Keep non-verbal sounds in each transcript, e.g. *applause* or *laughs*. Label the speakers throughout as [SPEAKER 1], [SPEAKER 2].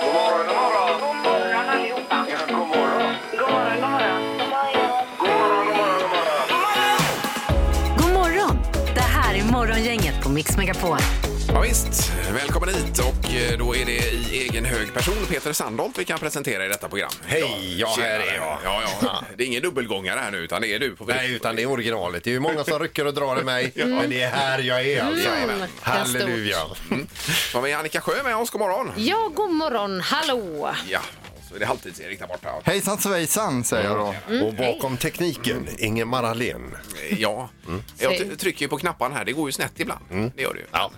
[SPEAKER 1] God morgon, god morgon. God morgon allihopa. Ja, god morgon. God morgon, god morgon. God morgon, god morgon, god morgon.
[SPEAKER 2] God morgon! Det här är Morgongänget på Mix Megapol.
[SPEAKER 3] Ja, visst, välkommen hit och eh, då är det i egen hög person Peter Sandholt vi kan presentera i detta program.
[SPEAKER 4] Hej, ja, här är jag.
[SPEAKER 3] Ja, ja. Det är ingen dubbelgångare här nu utan det är du på
[SPEAKER 4] Nej, utan det är originalet. Det är ju många som rycker och drar i *laughs* mig, men det är här jag är alltså.
[SPEAKER 5] Mm, det är stort.
[SPEAKER 4] Halleluja. Mm.
[SPEAKER 3] Så har vi Annika Sjö med oss, god morgon.
[SPEAKER 5] Ja, god morgon, hallå!
[SPEAKER 3] Ja, och så är det halvtids-Erik där borta.
[SPEAKER 6] Hejsan svejsan säger jag då.
[SPEAKER 5] Mm.
[SPEAKER 4] Mm. Och bakom tekniken, Ingemar Ahlén.
[SPEAKER 3] Ja,
[SPEAKER 4] Mm.
[SPEAKER 3] jag ty- trycker ju på knapparna här, det går ju snett ibland. Det gör det ju.
[SPEAKER 4] Ja.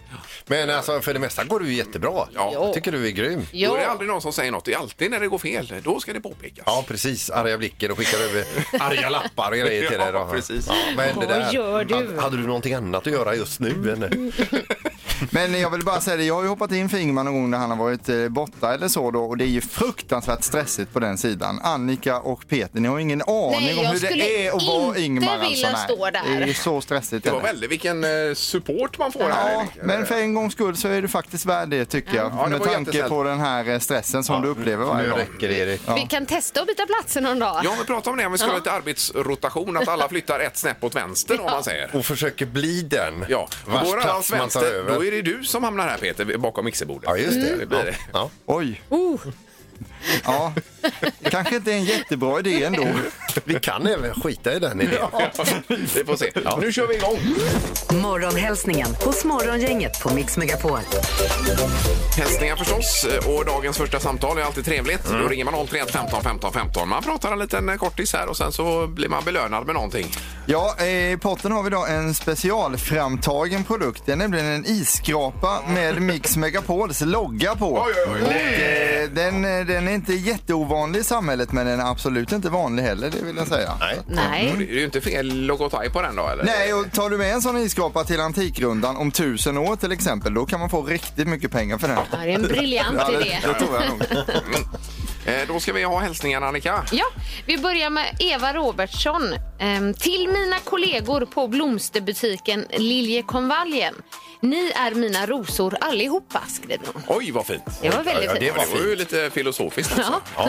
[SPEAKER 4] Men alltså, för det mesta går du jättebra.
[SPEAKER 3] Ja.
[SPEAKER 4] Jag tycker du är grym.
[SPEAKER 3] Då är det
[SPEAKER 5] Ja,
[SPEAKER 3] aldrig någon som säger något, det är alltid när det går fel, då ska det påpekas.
[SPEAKER 4] Ja, precis. Arga blicken och skickar *laughs* över arga lappar och grejer till dig. Då.
[SPEAKER 3] Ja, precis.
[SPEAKER 4] Ja, vad hände där?
[SPEAKER 5] Vad gör du?
[SPEAKER 4] Hade- Hade du någonting annat att göra just nu? Eller?
[SPEAKER 6] Men jag vill bara säga det, jag har ju hoppat in för Ingmar någon gång när han har varit eh, borta eller så då och det är ju fruktansvärt stressigt på den sidan. Annika och Peter, ni har ju ingen aning
[SPEAKER 5] Nej,
[SPEAKER 6] om
[SPEAKER 5] jag
[SPEAKER 6] hur
[SPEAKER 5] skulle
[SPEAKER 6] det är att vara
[SPEAKER 5] inte
[SPEAKER 6] Ingmar
[SPEAKER 5] vilja
[SPEAKER 6] alltså.
[SPEAKER 5] stå där.
[SPEAKER 6] Det är ju så stressigt.
[SPEAKER 3] Det var
[SPEAKER 6] är det.
[SPEAKER 3] väldigt vilken eh, support man får här.
[SPEAKER 6] Ja,
[SPEAKER 3] Erik.
[SPEAKER 6] men för en gångs skull så är du faktiskt värd det tycker jag.
[SPEAKER 3] Ja, det
[SPEAKER 6] med
[SPEAKER 3] var
[SPEAKER 6] tanke
[SPEAKER 3] jättesnällt.
[SPEAKER 6] på den här eh, stressen som du upplever varje
[SPEAKER 4] Nu
[SPEAKER 6] dag.
[SPEAKER 4] räcker det, Erik.
[SPEAKER 5] vi kan testa att byta platser någon dag.
[SPEAKER 3] Ja, vi pratade om det, om vi skulle ha lite arbetsrotation, att alla flyttar ett snäpp åt vänster om man säger.
[SPEAKER 4] Och försöker bli den
[SPEAKER 3] Ja,
[SPEAKER 4] vars
[SPEAKER 3] går alla åt
[SPEAKER 4] plats man tar
[SPEAKER 3] vänster,
[SPEAKER 4] över.
[SPEAKER 3] då är det du som hamnar här Peter, bakom mixerbordet.
[SPEAKER 4] Ja, just det.
[SPEAKER 3] Det blir det.
[SPEAKER 4] Ja.
[SPEAKER 6] Oj,
[SPEAKER 5] Oh, *laughs*
[SPEAKER 6] ja. kanske inte är en jättebra idé ändå.
[SPEAKER 4] Ja. Vi kan även skita i den idén.
[SPEAKER 3] *laughs* Vi får se. Nu kör vi igång!
[SPEAKER 2] Morgonhälsningen hos Morgongänget på Mix Megapol.
[SPEAKER 3] Hälsningar förstås och dagens första samtal är alltid trevligt.
[SPEAKER 4] Mm.
[SPEAKER 3] Då ringer man 031 15 15 15. Man pratar en liten eh, kortis här och sen så blir man belönad med någonting.
[SPEAKER 6] Ja, eh, i potten har vi då en specialframtagen produkt. Det är nämligen en isskrapa med Mix Megapols logga på.
[SPEAKER 3] Oj, oj, oj.
[SPEAKER 6] Och, eh, den, eh, den är inte jätteovanlig i samhället men den är absolut inte vanlig heller, det vill jag säga.
[SPEAKER 4] Nej.
[SPEAKER 3] Och Det
[SPEAKER 5] nej.
[SPEAKER 3] är ju inte fel logotyp på den då eller?
[SPEAKER 6] Nej, och tar du med en sån isskrapa till Antikrundan om tusen år till exempel, då kan man få riktigt mycket pengar för den.
[SPEAKER 5] Ja, Det är en briljant
[SPEAKER 6] Ja,
[SPEAKER 5] idé.
[SPEAKER 6] det, det tror jag nog.
[SPEAKER 3] Eh, Då ska vi ha hälsningar Annika.
[SPEAKER 5] Ja, vi börjar med Eva Robertsson. Ehm, till mina kollegor på blomsterbutiken Liljekonvaljen. Ni är mina rosor allihopa, skriver hon.
[SPEAKER 3] Oj vad fint!
[SPEAKER 5] Det var väldigt
[SPEAKER 4] Ja, ja,
[SPEAKER 5] fint.
[SPEAKER 4] det
[SPEAKER 3] Det var, ju lite filosofiskt också.
[SPEAKER 4] Ja.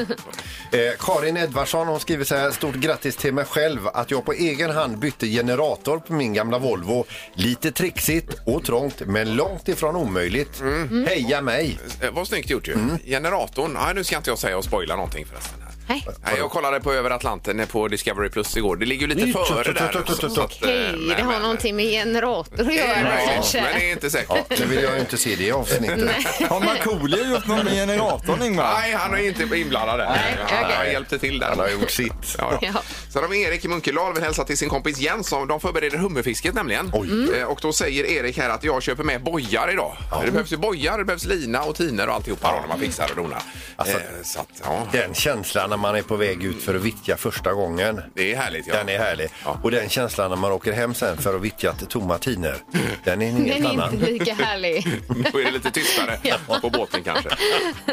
[SPEAKER 4] Eh, Karin Edvardsson hon skriver så här. Stort grattis till mig själv att jag på egen hand bytte generator på min gamla Volvo. Lite trixigt och trångt men långt ifrån omöjligt. Heja mig!
[SPEAKER 3] Eh, Vad snyggt gjort ju.
[SPEAKER 4] Mm.
[SPEAKER 3] Generatorn, nej, nu ska inte jag säga och spoila någonting förresten. Här.
[SPEAKER 5] Nej.
[SPEAKER 3] Nej, jag kollade på Över Atlanten eh, på Discovery Plus igår. Det ligger ju lite
[SPEAKER 4] Mm.
[SPEAKER 3] före där. också, så att, eh,
[SPEAKER 5] Okej,
[SPEAKER 3] nej,
[SPEAKER 5] det har
[SPEAKER 3] men-
[SPEAKER 5] någonting med generator att
[SPEAKER 3] Det
[SPEAKER 5] göra
[SPEAKER 3] är möjligt, Men
[SPEAKER 5] kanske.
[SPEAKER 3] det är inte
[SPEAKER 4] Ja,
[SPEAKER 3] säkert.
[SPEAKER 4] nu vill jag ju inte se det i avsnittet.
[SPEAKER 6] Har Markoolio gjort något med generatorn, Ingmar?
[SPEAKER 3] Nej, han är inte inblandad där.
[SPEAKER 5] okej.
[SPEAKER 3] Han hjälpte till där. Han har gjort sitt. Ja, ja.
[SPEAKER 5] Ja.
[SPEAKER 3] Sen har vi Erik i Munkedal vill hälsa till sin kompis Jens. som- De förbereder hummerfisket nämligen. Eh, Och då säger Erik här att jag köper med bojar idag. Det behövs ju bojar, det behövs lina och tiner och alltihopa då när man fixar och donar.
[SPEAKER 4] Alltså-
[SPEAKER 3] Eh, Så att, ja.
[SPEAKER 4] Den känslan när man är på väg ut för att vittja första gången.
[SPEAKER 3] Det är härligt. Ja.
[SPEAKER 4] Den är härlig.
[SPEAKER 3] Ja.
[SPEAKER 4] Och den känslan när man åker hem sen för att vittja till tomma tiner. Den är en helt
[SPEAKER 5] Den är
[SPEAKER 4] annan.
[SPEAKER 5] inte lika härlig.
[SPEAKER 3] *laughs* Då är det lite tystare på båten kanske.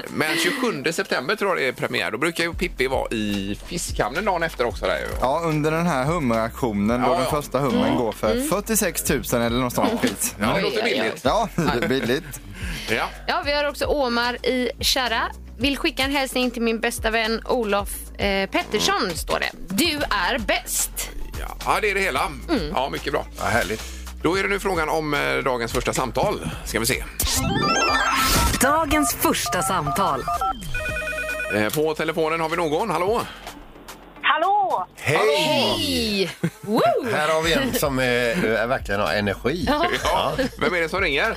[SPEAKER 3] Men 27 september tror jag det är premiär. Då brukar ju Pippi vara i fiskhamnen dagen efter också. Där. ju.
[SPEAKER 6] Ja, under den här hummeraktionen då
[SPEAKER 3] Ja,
[SPEAKER 6] den
[SPEAKER 3] ja.
[SPEAKER 6] första hummen går för 46 000 eller något sånt skit.
[SPEAKER 3] Ja, det låter
[SPEAKER 5] Oj, oj, oj.
[SPEAKER 3] billigt.
[SPEAKER 6] Ja, det är billigt.
[SPEAKER 3] Ja.
[SPEAKER 5] Ja, vi har också Omar i Kära. Vill skicka en hälsning till min bästa vän Olof eh, Pettersson, står det. Du är bäst.
[SPEAKER 3] Ja. ja, det är det hela.
[SPEAKER 5] Mm.
[SPEAKER 3] Ja, mycket bra.
[SPEAKER 4] Ja, härligt.
[SPEAKER 3] Då är det nu frågan om eh, dagens första samtal. Ska vi se.
[SPEAKER 2] Dagens första samtal.
[SPEAKER 3] Eh, På telefonen har vi någon. Hallå?
[SPEAKER 7] Hallå!
[SPEAKER 4] Hej!
[SPEAKER 5] I. Woo!
[SPEAKER 4] Här har vi en som eh, eh, verkligen har energi.
[SPEAKER 3] Ja. Vem är det som ringer?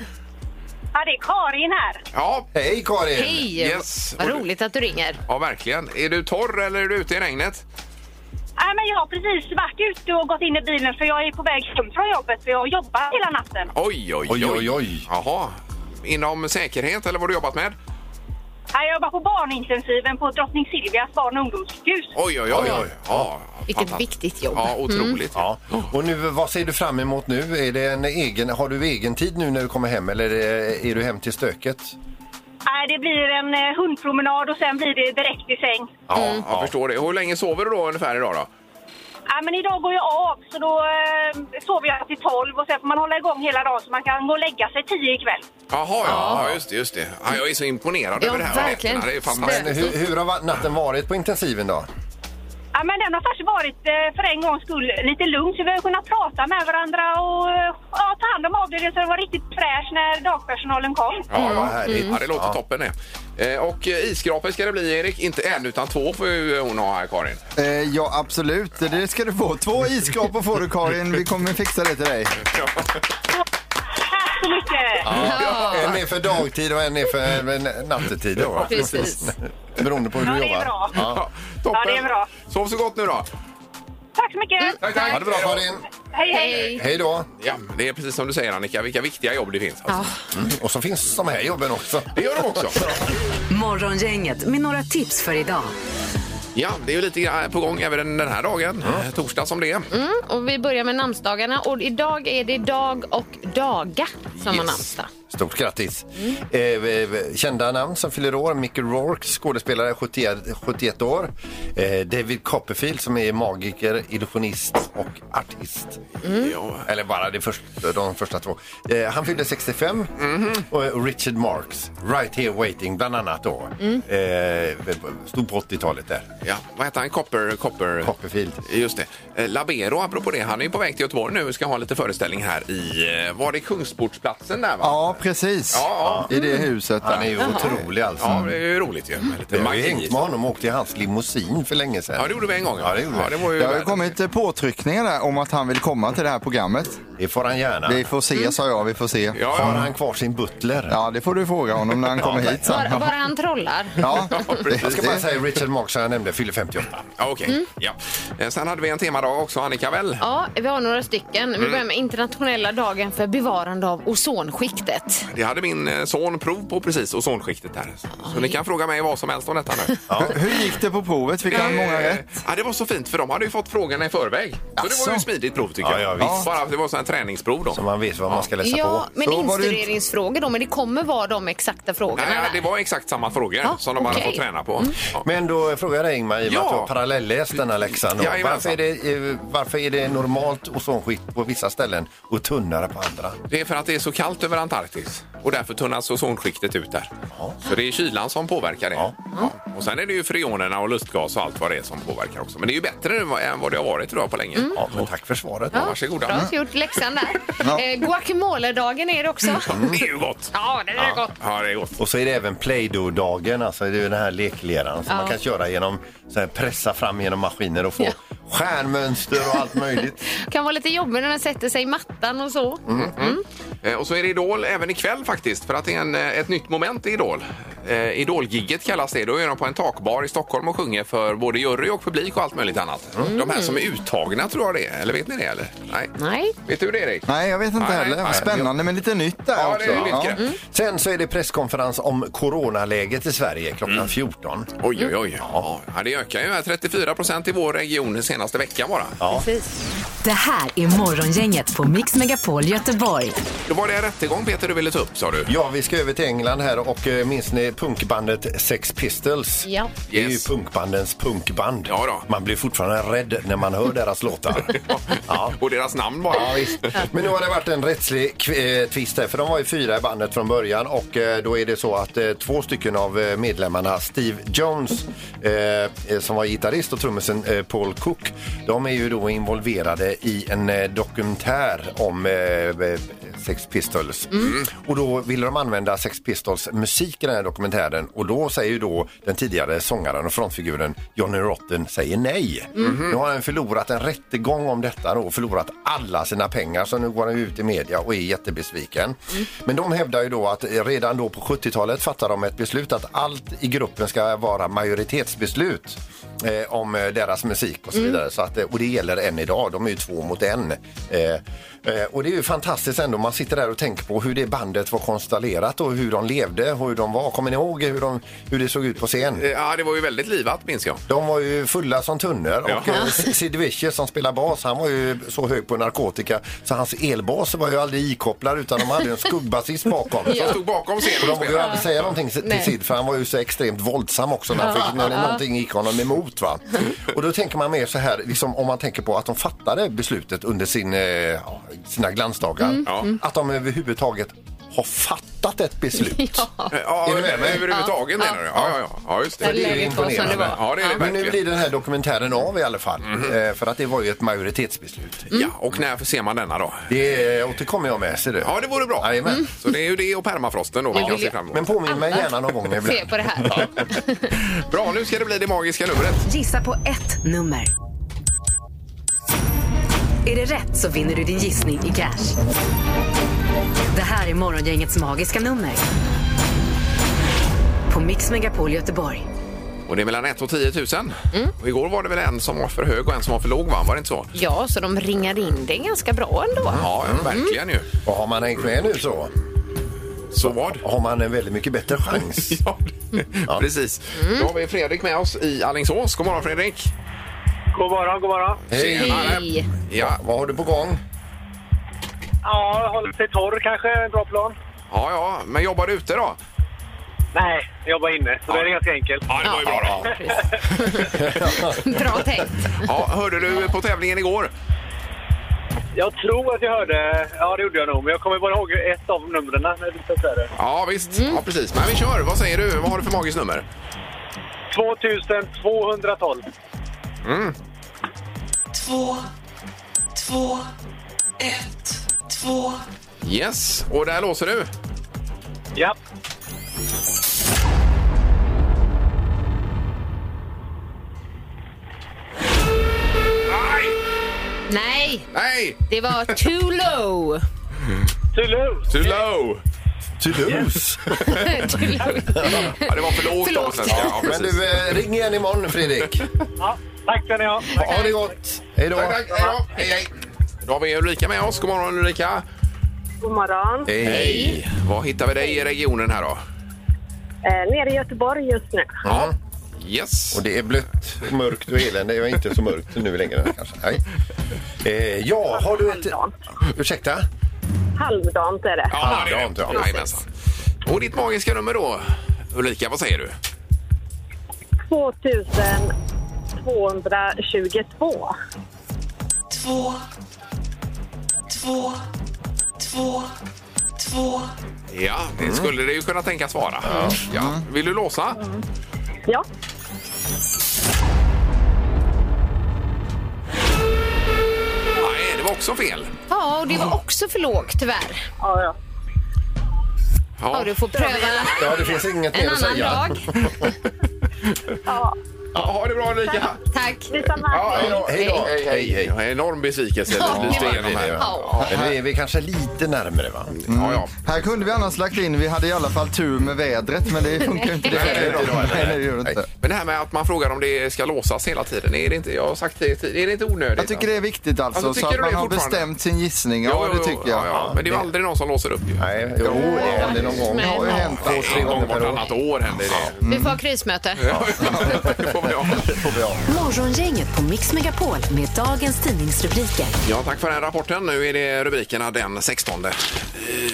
[SPEAKER 7] Ja, det är Karin här.
[SPEAKER 3] Ja,
[SPEAKER 4] Hej Karin!
[SPEAKER 5] Hej!
[SPEAKER 3] Yes.
[SPEAKER 5] Vad roligt att du ringer.
[SPEAKER 3] ja, verkligen. Är du torr eller är du ute i regnet?
[SPEAKER 7] Nej, men jag har precis varit ute och gått in i bilen för jag är på väg hem från jobbet för jag jobbar hela natten.
[SPEAKER 3] Oj, oj, oj.
[SPEAKER 4] Oj, oj, oj.
[SPEAKER 3] Jaha. Inom säkerhet eller vad har du jobbat med?
[SPEAKER 7] Nej, Jag jobbar på barnintensiven på Drottning Silvias barn och ungdomssjukhus.
[SPEAKER 3] Oj, oj, oj.
[SPEAKER 4] Oj, oj.
[SPEAKER 3] Ja,
[SPEAKER 5] Vilket
[SPEAKER 3] fantastiskt.
[SPEAKER 5] viktigt jobb. Mm.
[SPEAKER 3] Ja, otroligt.
[SPEAKER 4] Ja. Och nu, vad ser du fram emot nu? Är det en egen, har du egen tid nu när du kommer hem eller är, det- är du hem till stöket?
[SPEAKER 7] Nej, det blir en eh, hundpromenad och sen blir det direkt i säng.
[SPEAKER 3] Ja, jag förstår det. Hur länge sover du då ungefär idag då?
[SPEAKER 7] Ja, men idag går jag av, så då eh, sover jag till 12 och sen får man hålla igång hela dagen så man kan gå och lägga sig 10 ikväll.
[SPEAKER 3] Jaha, ja, ja, just det. Just det. Ja, jag är så imponerad
[SPEAKER 5] Ja,
[SPEAKER 3] över det här. med
[SPEAKER 5] verkligen.
[SPEAKER 3] nätterna. Det är fantastiskt.
[SPEAKER 4] Men hur, hur har va- natten varit på intensiven då?
[SPEAKER 7] Ja, men den har faktiskt varit eh, för en gångs skull lite lugn så vi har kunnat prata med varandra och eh, ja, ta hand om avdelningen så det var riktigt fräscht när dagpersonalen kom.
[SPEAKER 3] Ja, ja,
[SPEAKER 4] Vad härligt.
[SPEAKER 3] Mm. ja, det låter
[SPEAKER 4] Ja.
[SPEAKER 3] toppen det. Eh, Och eh, isskrapor ska det bli, Erik. Inte en, utan två får ju hon ha här, Karin.
[SPEAKER 6] Eh, ja, absolut. Det ska du få. Två isskrapor får du, Karin. Vi kommer fixa det till dig.
[SPEAKER 7] Tack så mycket!
[SPEAKER 4] En är för dagtid och en är för eh, nattetid. Då.
[SPEAKER 5] Precis.
[SPEAKER 4] Beroende på hur
[SPEAKER 7] Ja,
[SPEAKER 4] du
[SPEAKER 7] det är
[SPEAKER 4] jobbar.
[SPEAKER 7] bra.
[SPEAKER 4] Ja.
[SPEAKER 3] Toppen.
[SPEAKER 7] Ja, det är bra.
[SPEAKER 3] Sov så gott nu då.
[SPEAKER 7] Tack så mycket!
[SPEAKER 3] Tack, tack.
[SPEAKER 4] Ha det bra Karin.
[SPEAKER 7] Hej, hej!
[SPEAKER 5] Hej.
[SPEAKER 4] Hej då.
[SPEAKER 3] Ja, det är precis som du säger, Annika. Vilka viktiga jobb det finns. Alltså.
[SPEAKER 4] Och så finns de här jobben också.
[SPEAKER 3] Det gör de också.
[SPEAKER 2] Morgongänget med några tips för idag.
[SPEAKER 3] Ja, det är ju lite grann eh, på gång även den här dagen. Eh, Torsdag som det är.
[SPEAKER 5] Mm, och vi börjar med namnsdagarna och idag är det dag och daga som har
[SPEAKER 3] Yes.
[SPEAKER 5] namnsdag.
[SPEAKER 4] Stort grattis! Eh, eh, kända namn som fyller år. Mickey Rourke, skådespelare, 71, 71 år. Eh, David Copperfield som är magiker, illusionist och artist.
[SPEAKER 3] Ja.
[SPEAKER 4] Eller bara det första, de första två. Eh, han fyllde 65.
[SPEAKER 3] Mhm.
[SPEAKER 4] Och eh, Richard Marx, Right Here Waiting bland annat då.
[SPEAKER 3] Mm.
[SPEAKER 4] Eh, stod på 80-talet där.
[SPEAKER 3] Ja, vad heter han? Copper... Copper...
[SPEAKER 4] Copperfield.
[SPEAKER 3] Just det. Eh, Labero, apropå det, han är ju på väg till Göteborg nu och ska ha en liten föreställning här i... eh, Var det Kungsportsplatsen där? Va?
[SPEAKER 6] Ja, precis.
[SPEAKER 3] Ja,
[SPEAKER 6] I det huset
[SPEAKER 4] Han är
[SPEAKER 6] där.
[SPEAKER 4] ju otrolig alltså.
[SPEAKER 3] Ja, det är ju roligt ju. Med lite
[SPEAKER 4] Jag har ju
[SPEAKER 3] magi.
[SPEAKER 4] hängt med honom och åkte i hans limousin för länge sedan.
[SPEAKER 3] Ja, det gjorde vi en gång.
[SPEAKER 4] Ja, det gjorde
[SPEAKER 3] ja,
[SPEAKER 4] vi.
[SPEAKER 3] det var ju
[SPEAKER 6] Det har ju
[SPEAKER 3] världens-
[SPEAKER 6] kommit eh, påtryckningar där om att han vill komma till det här programmet.
[SPEAKER 4] Det får han gärna.
[SPEAKER 6] Vi får se, sa jag. Vi får se.
[SPEAKER 3] Mm. Ja,
[SPEAKER 4] Har
[SPEAKER 3] ja.
[SPEAKER 4] han kvar sin butler?
[SPEAKER 6] Ja, det får du fråga honom när han kommer hit sen.
[SPEAKER 5] Bara, bara han trollar.
[SPEAKER 6] Ja,
[SPEAKER 4] Jag ska
[SPEAKER 6] det-
[SPEAKER 4] bara säga Richard Marx som jag nämnde fyller 58.
[SPEAKER 3] ja okej. Ja. Eh, Sen hade vi en temadag också, Annika väl?
[SPEAKER 5] Mm. Ja, vi har några stycken. Vi börjar med internationella dagen för bevarande av ozonskiktet.
[SPEAKER 3] Det hade min eh, son prov på precis, ozonskiktet där. Så ni kan fråga mig vad som helst om detta
[SPEAKER 5] *laughs*
[SPEAKER 3] nu.
[SPEAKER 6] Hur- Hur gick det på provet? Fick
[SPEAKER 3] Eh,
[SPEAKER 6] han många rätt?
[SPEAKER 3] Ja, det var så fint för de hade ju fått frågorna i förväg. Så det var ju
[SPEAKER 6] Asså.
[SPEAKER 3] ett smidigt prov tycker
[SPEAKER 4] Ja,
[SPEAKER 3] jag.
[SPEAKER 4] ja, visst.
[SPEAKER 3] Bara att det var så här träningsprov då.
[SPEAKER 4] Så man vet vad man ska läsa
[SPEAKER 5] Ja,
[SPEAKER 4] på.
[SPEAKER 5] men
[SPEAKER 6] Så var det inte-
[SPEAKER 5] instuderingsfrågor då, men det kommer vara de exakta frågorna.
[SPEAKER 3] Nej, ja,
[SPEAKER 5] där.
[SPEAKER 3] det var exakt samma frågor
[SPEAKER 5] Ja,
[SPEAKER 3] som de hade
[SPEAKER 5] okej. Mm.
[SPEAKER 3] fått träna på. Ja.
[SPEAKER 4] Men då frågar jag dig Ingmar, i och med
[SPEAKER 3] Ja.
[SPEAKER 4] att du har parallelläst den här läxan. då.
[SPEAKER 3] Jajamensan.
[SPEAKER 4] Varför är, det, eh, varför är det normalt ozonskikt på vissa ställen och tunnare på andra?
[SPEAKER 3] Det är för att det är så kallt över Antarktis och därför tunnas ozonskiktet ut där. Så det är kylan som påverkar det.
[SPEAKER 4] Ja.
[SPEAKER 3] Ja. Och sen är det ju freonerna och lustgas och allt vad det är som påverkar också. Men det är ju bättre nu än vad det har varit idag på länge.
[SPEAKER 4] Ja, men tack för svaret.
[SPEAKER 3] Ja, Varsågoda.
[SPEAKER 5] Bra gjort läxan där. Eh, Guacamole-dagen är det också.
[SPEAKER 3] Mm. Det är ju gott!
[SPEAKER 5] Ja, det är gott.
[SPEAKER 3] Ja, det är gott.
[SPEAKER 4] Och så är det även Play-Doh-dagen, alltså det är ju den här lekleran som
[SPEAKER 5] Ja.
[SPEAKER 4] man kan köra genom, så här, pressa fram genom maskiner och få
[SPEAKER 5] Ja.
[SPEAKER 4] stjärnmönster och allt möjligt.
[SPEAKER 5] Kan vara lite jobbigt när den sätter sig i mattan och så.
[SPEAKER 3] Eh, Och så är det Idol även ikväll faktiskt, för att det är en, eh, ett nytt moment i Idol. Eh, Idolgigget kallas det. Då är de på en takbar i Stockholm och sjunger för både jury och publik och allt möjligt annat. De här som är uttagna tror jag det är, eller vet ni det? Eller? Nej.
[SPEAKER 5] Nej.
[SPEAKER 3] Vet du det Erik?
[SPEAKER 6] Nej, jag vet inte
[SPEAKER 3] Nej,
[SPEAKER 6] heller.
[SPEAKER 3] nej.
[SPEAKER 6] Spännande men lite nytt där
[SPEAKER 3] Ja,
[SPEAKER 6] också.
[SPEAKER 3] det är ju nytt grepp.
[SPEAKER 4] Sen så är det presskonferens om coronaläget i Sverige klockan 14.
[SPEAKER 3] Oj, oj, oj. Ja, det ökar ju här 34 procent i vår region den senaste veckan bara.
[SPEAKER 5] Precis.
[SPEAKER 2] Det här är Morgongänget på Mix Megapol Göteborg.
[SPEAKER 3] Då var det en rättegång Peter du ville ta upp sa du.
[SPEAKER 4] Ja, vi ska över till England här och eh, minns ni punkbandet Sex Pistols?
[SPEAKER 5] Ja.
[SPEAKER 4] Det är ju
[SPEAKER 3] Yes.
[SPEAKER 4] punkbandens punkband.
[SPEAKER 3] Ja då.
[SPEAKER 4] Man blir fortfarande rädd när man hör deras låtar.
[SPEAKER 3] *laughs*
[SPEAKER 4] Ja.
[SPEAKER 3] Och deras namn bara. Eh,
[SPEAKER 4] Ja, visst. *laughs* Men nu har det varit en rättslig kv- eh, tvist här, för de var ju fyra i bandet från början och eh, då är det så att eh, två stycken av eh, medlemmarna, Steve Jones eh, eh, som var gitarrist och trummisen eh, Paul Cook, de är ju då involverade i en eh, dokumentär om eh, eh, Sex Pistols. Och då ville de använda Sex Pistols musik i den här dokumentären och då säger ju då den tidigare sångaren och frontfiguren Johnny Rotten säger nej. Nu har han förlorat en rättegång om detta då, och förlorat alla sina pengar så nu går han ut i media och är jättebesviken. Men de hävdar ju då att eh, redan då på 70-talet fattade de ett beslut att allt i gruppen ska vara majoritetsbeslut eh, om eh, deras musik och så vidare. Så att, eh, och det gäller än idag, de är ju två mot en. Eh, eh, och det är ju fantastiskt ändå, man sitter där och tänker på hur det bandet var konstellerat och hur de levde och hur de var. Kommer ni ihåg hur, de, hur det såg ut på scen?
[SPEAKER 3] Eh, Ja, det var ju väldigt livat minns jag.
[SPEAKER 4] De var ju fulla som tunnor och
[SPEAKER 3] Ja.
[SPEAKER 4] eh, Sid Vicious som spelar bas han var ju så hög på narkotika så hans elbas var ju aldrig ikopplad utan de hade ju en skuggbasist bakom.
[SPEAKER 3] De stod bakom
[SPEAKER 4] Och
[SPEAKER 3] scenen
[SPEAKER 4] de
[SPEAKER 3] och
[SPEAKER 4] vågade ju
[SPEAKER 3] spelade.
[SPEAKER 4] aldrig säga någonting till
[SPEAKER 5] Nej.
[SPEAKER 4] Sid för han var ju så extremt våldsam också när, han fick, när någonting gick honom emot. emot. Va? Och då tänker man mer så här, liksom, om man tänker på att de fattade beslutet under sin, eh, ja, sina glansdagar.
[SPEAKER 3] Ja.
[SPEAKER 4] Att de överhuvudtaget har fattat ett beslut.
[SPEAKER 3] Ja,
[SPEAKER 4] Är du med mig?
[SPEAKER 3] överhuvudtaget menar du? Ja, ja, ja. ja just det.
[SPEAKER 5] Där läget var som det var.
[SPEAKER 3] Ja, det är det
[SPEAKER 4] Men nu
[SPEAKER 3] verkligen.
[SPEAKER 4] blir den här dokumentären av i alla fall. eh, För att det var ju ett majoritetsbeslut.
[SPEAKER 3] Ja, och när ser man denna då?
[SPEAKER 4] Det eh, återkommer jag med, ser du.
[SPEAKER 3] Ja, det vore bra.
[SPEAKER 4] Jajamän.
[SPEAKER 3] Så det är ju det och permafrosten då vi
[SPEAKER 5] Det
[SPEAKER 3] kan
[SPEAKER 5] vill
[SPEAKER 3] se
[SPEAKER 5] jag.
[SPEAKER 3] fram emot.
[SPEAKER 4] Men påminn mig gärna någon gång
[SPEAKER 5] Se
[SPEAKER 4] ibland.
[SPEAKER 5] på det här.
[SPEAKER 3] Bra, nu ska det bli det magiska numret.
[SPEAKER 2] Gissa på ett nummer. Är det rätt så vinner du din gissning i cash. Det här är Morgongängets magiska nummer. På Mix Megapol Göteborg.
[SPEAKER 3] Och det är mellan 1 och 10 000.
[SPEAKER 5] Mm.
[SPEAKER 3] Och igår var det väl en som var för hög och en som var för låg, va? Var det inte så?
[SPEAKER 5] Ja, så de ringar in det ganska bra ändå.
[SPEAKER 3] Ja, verkligen ju.
[SPEAKER 4] Och har man hängt med nu så
[SPEAKER 3] Så vad?
[SPEAKER 4] har man en väldigt mycket bättre chans.
[SPEAKER 3] *laughs* Ja, Mm. precis. Då har vi Fredrik med oss i Alingsås. God morgon Fredrik!
[SPEAKER 1] God morgon, god morgon.
[SPEAKER 4] Hej!
[SPEAKER 5] Hej.
[SPEAKER 3] Ja,
[SPEAKER 4] Vad har du på gång?
[SPEAKER 1] Ja, håller sig torr kanske, en bra plan.
[SPEAKER 3] ja, ja. men jobbar du ute då?
[SPEAKER 1] Nej, jag jobbar inne, så det är ganska enkelt.
[SPEAKER 3] Ja, det var ju bra då.
[SPEAKER 5] Bra tänkt.
[SPEAKER 3] Ja, hörde du på tävlingen igår?
[SPEAKER 1] Jag tror att jag hörde, ja det gjorde jag nog, men jag kommer bara ihåg ett av numren. när du sa det.
[SPEAKER 3] Ja, visst. Ja, precis. Men vi kör. Vad säger du? Vad har du för magiskt nummer?
[SPEAKER 1] 2212.
[SPEAKER 3] Yes, och där låser du.
[SPEAKER 1] Ja.
[SPEAKER 5] Nej,
[SPEAKER 3] Nej!
[SPEAKER 5] det var too low.
[SPEAKER 1] Tullu!
[SPEAKER 3] Too low! *laughs*
[SPEAKER 4] Toulouse.
[SPEAKER 5] Too low.
[SPEAKER 3] Ja, det var för lågt
[SPEAKER 5] Förlåt.
[SPEAKER 3] också. Ja,
[SPEAKER 4] Men
[SPEAKER 3] precis.
[SPEAKER 4] du, eh, ring igen imorgon Fredrik.
[SPEAKER 1] Ja, tack ska ni ha.
[SPEAKER 4] Ha det gott. Hej då.
[SPEAKER 3] Tack, tack. Hej då. eh, Hej, hej. Då har vi Ulrika med oss. God morgon Ulrika!
[SPEAKER 8] God morgon.
[SPEAKER 4] Hej.
[SPEAKER 3] Hej! Var hittar vi dig i regionen här
[SPEAKER 8] Eh,
[SPEAKER 3] då?
[SPEAKER 8] nere i Göteborg just nu.
[SPEAKER 4] Ja.
[SPEAKER 3] Yes.
[SPEAKER 4] Mm. Och det är blött, mörkt och elände. Jag är inte så mörkt nu längre kanske. Nej. Eh, ja, har du ett...
[SPEAKER 8] Halvdant.
[SPEAKER 4] Ursäkta?
[SPEAKER 8] Halvdant är det.
[SPEAKER 3] Ja, det är
[SPEAKER 4] Halvdant,
[SPEAKER 3] det.
[SPEAKER 4] ja.
[SPEAKER 3] Jajamensan. Och ditt magiska nummer då, Ulrika, vad säger du?
[SPEAKER 8] 2222.
[SPEAKER 3] Ja, det skulle det ju kunna tänkas vara. Ja. Vill du låsa?
[SPEAKER 8] Ja,
[SPEAKER 3] Nej, det var också fel.
[SPEAKER 5] Ja, och det var också för lågt tyvärr.
[SPEAKER 8] ja, ja.
[SPEAKER 5] Ja,
[SPEAKER 3] Ja,
[SPEAKER 5] du får pröva
[SPEAKER 4] Ja, det finns inget
[SPEAKER 5] en
[SPEAKER 4] mer att
[SPEAKER 5] annan
[SPEAKER 4] säga.
[SPEAKER 5] dag.
[SPEAKER 3] ja ha det bra Ulrika!
[SPEAKER 5] Tack.
[SPEAKER 8] Detsamma.
[SPEAKER 3] Ja, hej då!
[SPEAKER 4] Hej då.
[SPEAKER 3] Hej, hej, hej. Ja, Enorm besvikelse
[SPEAKER 5] Ja,
[SPEAKER 3] vi lyste
[SPEAKER 5] det var
[SPEAKER 3] igenom här.
[SPEAKER 4] det,
[SPEAKER 3] Ja,
[SPEAKER 5] Ja.
[SPEAKER 4] Men nu är vi kanske lite närmare va?
[SPEAKER 3] ja.
[SPEAKER 6] Här kunde vi annars lagt in, vi hade i alla fall tur med vädret, men det funkar ju inte. Det
[SPEAKER 3] Nej, det är inte bra,
[SPEAKER 6] Nej, det gör det inte.
[SPEAKER 3] Men det här med att man frågar om det ska låsas hela tiden, är det inte, jag har sagt det, tid- är det inte onödigt?
[SPEAKER 6] Jag tycker det är viktigt alltså,
[SPEAKER 3] Alltså,
[SPEAKER 6] så
[SPEAKER 3] tycker
[SPEAKER 6] att
[SPEAKER 3] du
[SPEAKER 6] man
[SPEAKER 3] det
[SPEAKER 6] har
[SPEAKER 3] fortfarande?
[SPEAKER 6] bestämt sin gissning. Ja, det tycker
[SPEAKER 3] Ja,
[SPEAKER 6] jag.
[SPEAKER 3] ja. Men det är ju aldrig någon som låser upp ju.
[SPEAKER 4] Nej, jo, det är det någon gång.
[SPEAKER 6] Det har ju hänt.
[SPEAKER 3] Det är en gång vartannat år händer det.
[SPEAKER 5] Vi får ha krismöte.
[SPEAKER 3] Det får vi ha.
[SPEAKER 2] Morgongänget på Mix Megapol med dagens tidningsrubriker.
[SPEAKER 3] Ja, tack för den här rapporten. Nu är det rubrikerna den 16 eh,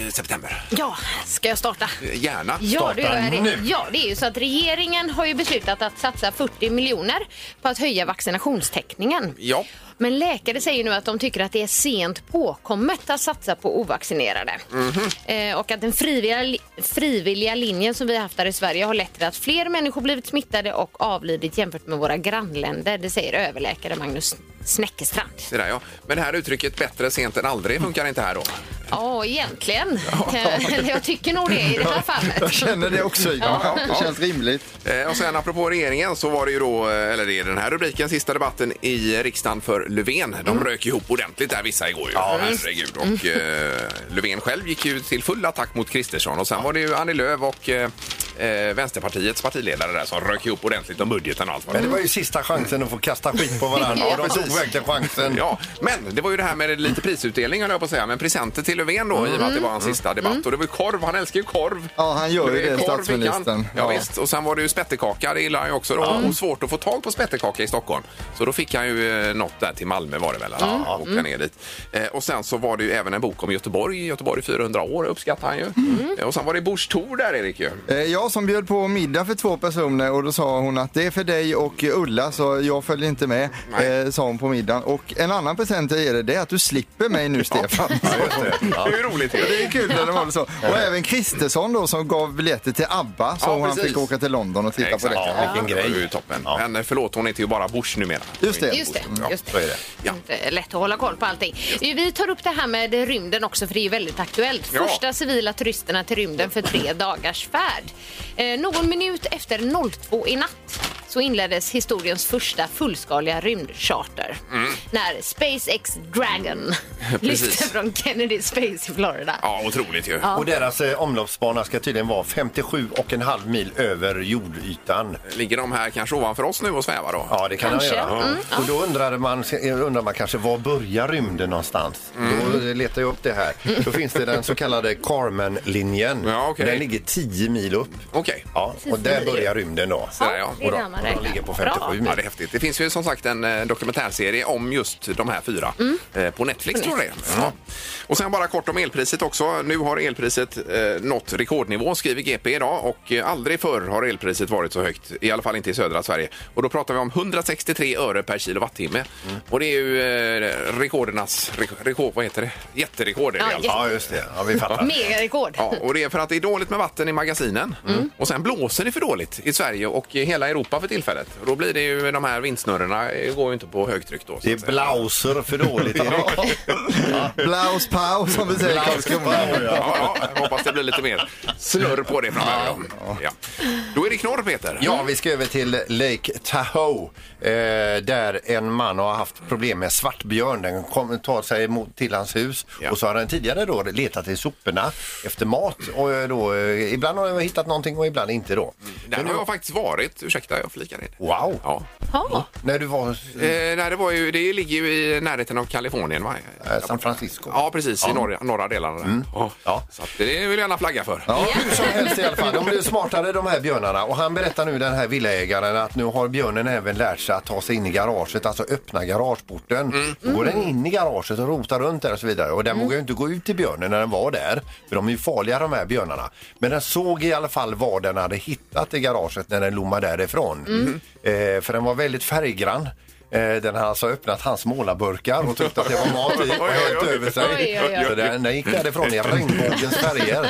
[SPEAKER 3] september.
[SPEAKER 5] Ja, ska jag starta?
[SPEAKER 3] Eh, Gärna.
[SPEAKER 5] Ja, det, gör jag det.
[SPEAKER 4] nu.
[SPEAKER 5] ja, det är ju så att regeringen har ju beslutat att satsa 40 miljoner på att höja vaccinationstäckningen.
[SPEAKER 3] Ja.
[SPEAKER 5] Men läkare säger nu att de tycker att det är sent påkommet att satsa på ovaccinerade.
[SPEAKER 4] Mhm.
[SPEAKER 5] Eh, och att den frivilliga, frivilliga linjen som vi har haft här i Sverige har lett till att fler människor blivit smittade och avlidit jämfört med våra grannländer. Det säger överläkare Magnus Snäckestrand.
[SPEAKER 3] Det där, ja. Men det här uttrycket bättre sent än aldrig funkar inte här då.
[SPEAKER 5] Ja, egentligen. Eh, *laughs* Jag tycker nog det i det här
[SPEAKER 4] *laughs*
[SPEAKER 6] Jag
[SPEAKER 5] fallet.
[SPEAKER 6] känner det också. Ja, det känns rimligt.
[SPEAKER 3] Eh, Och sen apropå regeringen så var det ju då, eh, eller det är den här rubriken, sista debatten i riksdagen för Löfven. De
[SPEAKER 5] Mm.
[SPEAKER 3] rök ihop ordentligt där vissa igår ju. Ja, herregud. Och
[SPEAKER 5] Mm.
[SPEAKER 3] eh, Löfven själv gick ju till full attack mot Kristersson och sen var det ju Annie Lööf och eh, eh, Vänsterpartiets partiledare där som rök ihop ordentligt om budgeten och allt vad det
[SPEAKER 4] Men det var ju sista chansen att få kasta skit på varandra och de tog verkligen chansen.
[SPEAKER 6] Mm.
[SPEAKER 3] Ja, men det var ju det här med lite prisutdelning höll jag på att säga, men presenter till Löfven då i och med att det var hans sista debatt. Och det var ju korv, han älskar ju korv.
[SPEAKER 6] Mm. Ja, han gör ju
[SPEAKER 3] Löfven,
[SPEAKER 6] det,
[SPEAKER 3] korv fick han.
[SPEAKER 6] statsministern.
[SPEAKER 3] Ja,
[SPEAKER 6] Ja. Mm.
[SPEAKER 3] visst, och sen var det ju spettekaka, det gillar han ju också då. Och svårt att få tag på spettekaka i Stockholm. Så då fick han ju eh, något där till Malmö var det väl, mm. och åkte ner dit. Eh, och sen så var det ju
[SPEAKER 6] Mm.
[SPEAKER 3] även en bok om Göteborg, Göteborg 400 år uppskattar han ju. Eh, och sen var det Bors Tor där Erik ju.
[SPEAKER 6] Eh, Ja, Ja, som bjöd på middag för två personer och då sa hon att det är för dig och Ulla så jag följer inte med,
[SPEAKER 3] Nej.
[SPEAKER 6] eh, sa hon på middagen. Och en annan present jag ger dig det är att du slipper mig nu Stefan.
[SPEAKER 3] Det är ju roligt ju.
[SPEAKER 6] Det är kul när de håller så. Och även Kristersson då som gav biljetter till ABBA så
[SPEAKER 3] Ja,
[SPEAKER 6] han
[SPEAKER 3] precis.
[SPEAKER 6] fick åka till London och titta på
[SPEAKER 3] Exakt.
[SPEAKER 6] det.
[SPEAKER 3] Ja,
[SPEAKER 4] vilken
[SPEAKER 3] Det var
[SPEAKER 4] grej.
[SPEAKER 3] ju toppen.
[SPEAKER 4] Ja.
[SPEAKER 3] Men eh, förlåt, hon heter ju bara Bush numera.
[SPEAKER 6] Just det.
[SPEAKER 5] Just det.
[SPEAKER 3] Ja,
[SPEAKER 5] Just
[SPEAKER 4] så är det.
[SPEAKER 3] Ja.
[SPEAKER 5] Inte lätt att hålla koll på allting. Vi tar upp det här med rymden också för det är ju väldigt aktuellt.
[SPEAKER 3] Ja.
[SPEAKER 5] Första civila turisterna till rymden för
[SPEAKER 3] *laughs*
[SPEAKER 5] tre dagars färd. Eh, någon minut efter 02 i natt så inleddes historiens första fullskaliga rymdcharter.
[SPEAKER 3] Mm.
[SPEAKER 5] När SpaceX
[SPEAKER 3] *laughs*
[SPEAKER 5] Dragon lyfte från Kennedy Space i Florida.
[SPEAKER 3] Ja, otroligt ju.
[SPEAKER 4] Och deras eh, omloppsbana ska tydligen vara 57,5 mil över jordytan.
[SPEAKER 3] Ligger de här kanske ovanför oss nu och svävar då?
[SPEAKER 4] Ja, det kan
[SPEAKER 5] Kanske.
[SPEAKER 4] han göra.
[SPEAKER 5] Mm,
[SPEAKER 4] och då undrade man, undrar man kanske var börjar rymden någonstans? Då letar jag upp det här. Då finns det den så kallade Carmen-linjen.
[SPEAKER 3] Ja, okej.
[SPEAKER 4] Den ligger 10 mil upp.
[SPEAKER 3] Okej.
[SPEAKER 4] Ja, och där börjar rymden då.
[SPEAKER 3] Så där, ja.
[SPEAKER 5] det är där man
[SPEAKER 4] Och
[SPEAKER 5] räknar.
[SPEAKER 4] de ligger på
[SPEAKER 5] Bra.
[SPEAKER 4] 57
[SPEAKER 3] Ja, det
[SPEAKER 4] mil.
[SPEAKER 3] är häftigt. Det finns ju som sagt en eh, dokumentärserie om just de här fyra eh, på Netflix tror jag det är. ja. Och sen bara kort om elpriset också. Nu har elpriset eh, nått rekordnivå skriver GP idag och eh, aldrig förr har elpriset varit så högt. I alla fall inte i södra Sverige. Och då pratar vi om 163 öre per kilowattimme.
[SPEAKER 4] Mm.
[SPEAKER 3] Och det är ju eh, rekordernas re- rekord, vad heter det? Jätterekord är det
[SPEAKER 5] Ja,
[SPEAKER 3] i alla fall.
[SPEAKER 4] Ja, just det. Ja, vi fattar.
[SPEAKER 5] Megarekord.
[SPEAKER 3] Ja, och det är för att det är dåligt med vatten i magasinen. Och sen blåser det för dåligt i Sverige och i hela Europa för tillfället. Och då blir det ju de här vindsnurrorna eh, går ju inte på högtryck då. så
[SPEAKER 4] Det är
[SPEAKER 3] att säga.
[SPEAKER 4] blauser för dåligt idag.
[SPEAKER 6] Blaus pau som vi säger i Karlskrona.
[SPEAKER 3] Ja, ja, jag hoppas det blir lite mer snurr på det framöver. Ja. Ja. Då är det knorr, Peter.
[SPEAKER 4] Ja, vi ska över till Lake Tahoe eh, där en man har haft problem med svartbjörn. Den kom, tar sig emot till hans hus
[SPEAKER 3] Ja.
[SPEAKER 4] och så har den tidigare då letat i soporna efter mat och eh, då eh, ibland har den hittat någonting och ibland inte då.
[SPEAKER 3] Mm. Där har jag faktiskt varit. Ursäkta, jag flikar in.
[SPEAKER 4] Wow!
[SPEAKER 3] Ja.
[SPEAKER 5] Ja.
[SPEAKER 4] När du var
[SPEAKER 3] Eh,
[SPEAKER 4] i
[SPEAKER 3] nej, det, var ju, det ligger ju i närheten av Kalifornien, va?
[SPEAKER 4] eh, San Francisco.
[SPEAKER 3] Ja, precis. I norra, norra delarna. där. Ja.
[SPEAKER 4] Mm. Ja.
[SPEAKER 3] Så att det vill jag gärna flagga för.
[SPEAKER 4] Ja, hur som helst i alla fall. De blev smartare de här björnarna och han berättar nu den här villaägaren att nu har björnen även lärt sig att ta sig in i garaget, alltså öppna garageporten. Då går den in i garaget och rotar runt där och så vidare och den vågar ju inte gå ut till björnen när den var där för de är ju farliga de här björnarna. Men den såg i alla fall vad den hade hittat i garaget när den lommade därifrån. Eh, för den var väldigt färggrann. Eh, Den har alltså öppnat hans målarburkar och tyckte att det var mat i och
[SPEAKER 3] Oj, oj, oj.
[SPEAKER 4] hällt över sig.
[SPEAKER 5] Oj, oj, oj.
[SPEAKER 4] Så den, den gick därifrån i regnbågens färger.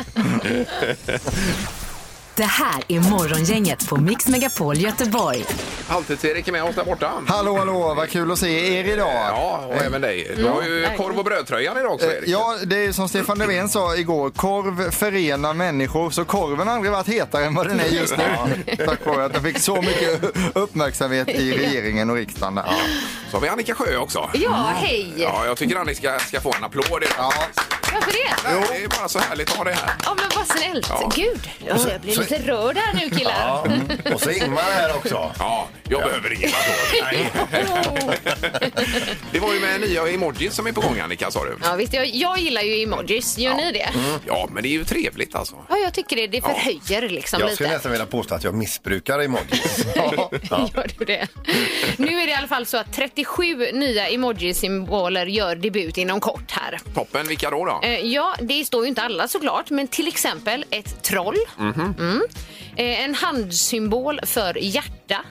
[SPEAKER 2] Det här är Morgongänget på Mix Megapol Göteborg.
[SPEAKER 3] Halvtids-Erik är med oss där borta.
[SPEAKER 6] Hallå, hallå, vad kul att se er idag.
[SPEAKER 3] Ja, eh, mm. och även dig. Du har ju korv och brödtröjan idag också, Erik.
[SPEAKER 6] Ja, det är ju som Stefan Löfven sa igår, korv förenar människor. Så korven har aldrig varit hetare än vad den är just nu. Tack vare att den fick så mycket
[SPEAKER 3] *laughs*
[SPEAKER 6] uppmärksamhet i regeringen och riksdagen. Där.
[SPEAKER 3] Så har vi Annika Sjö också.
[SPEAKER 5] ja, hej.
[SPEAKER 3] Mm. Ja, jag tycker Annika ska, ska få en applåd idag. Ja.
[SPEAKER 5] Varför det?
[SPEAKER 3] Det är bara så härligt att ha det här.
[SPEAKER 5] Ja, men vad snällt.
[SPEAKER 3] Ja.
[SPEAKER 5] Gud, ja, jag blir
[SPEAKER 4] så-
[SPEAKER 5] lite rörd här nu killar.
[SPEAKER 4] Ja, Mm. och så Ingmar här också.
[SPEAKER 3] Ja, jag behöver ingen applåd. Nej. Det var ju med nya emojis som är på gång, Annika, sa du. Mm.
[SPEAKER 5] Ja, visst, jag, jag gillar ju emojis. Gör ni det?
[SPEAKER 3] Ja, men det är ju trevligt alltså.
[SPEAKER 5] Ja, jag tycker det. Det förhöjer liksom
[SPEAKER 4] Jag skulle
[SPEAKER 5] lite. *laughs*
[SPEAKER 4] nästan vilja påstå att jag missbrukar emojis.
[SPEAKER 5] Gör du det? Nu är det i alla fall så att 37 nya emoji-symboler gör debut inom kort här.
[SPEAKER 3] Toppen, vilka då? då?
[SPEAKER 5] Eh, Ja, det står ju inte alla såklart, men till exempel ett troll.
[SPEAKER 4] Mhm.
[SPEAKER 5] Mm. Eh, En handsymbol för hjärta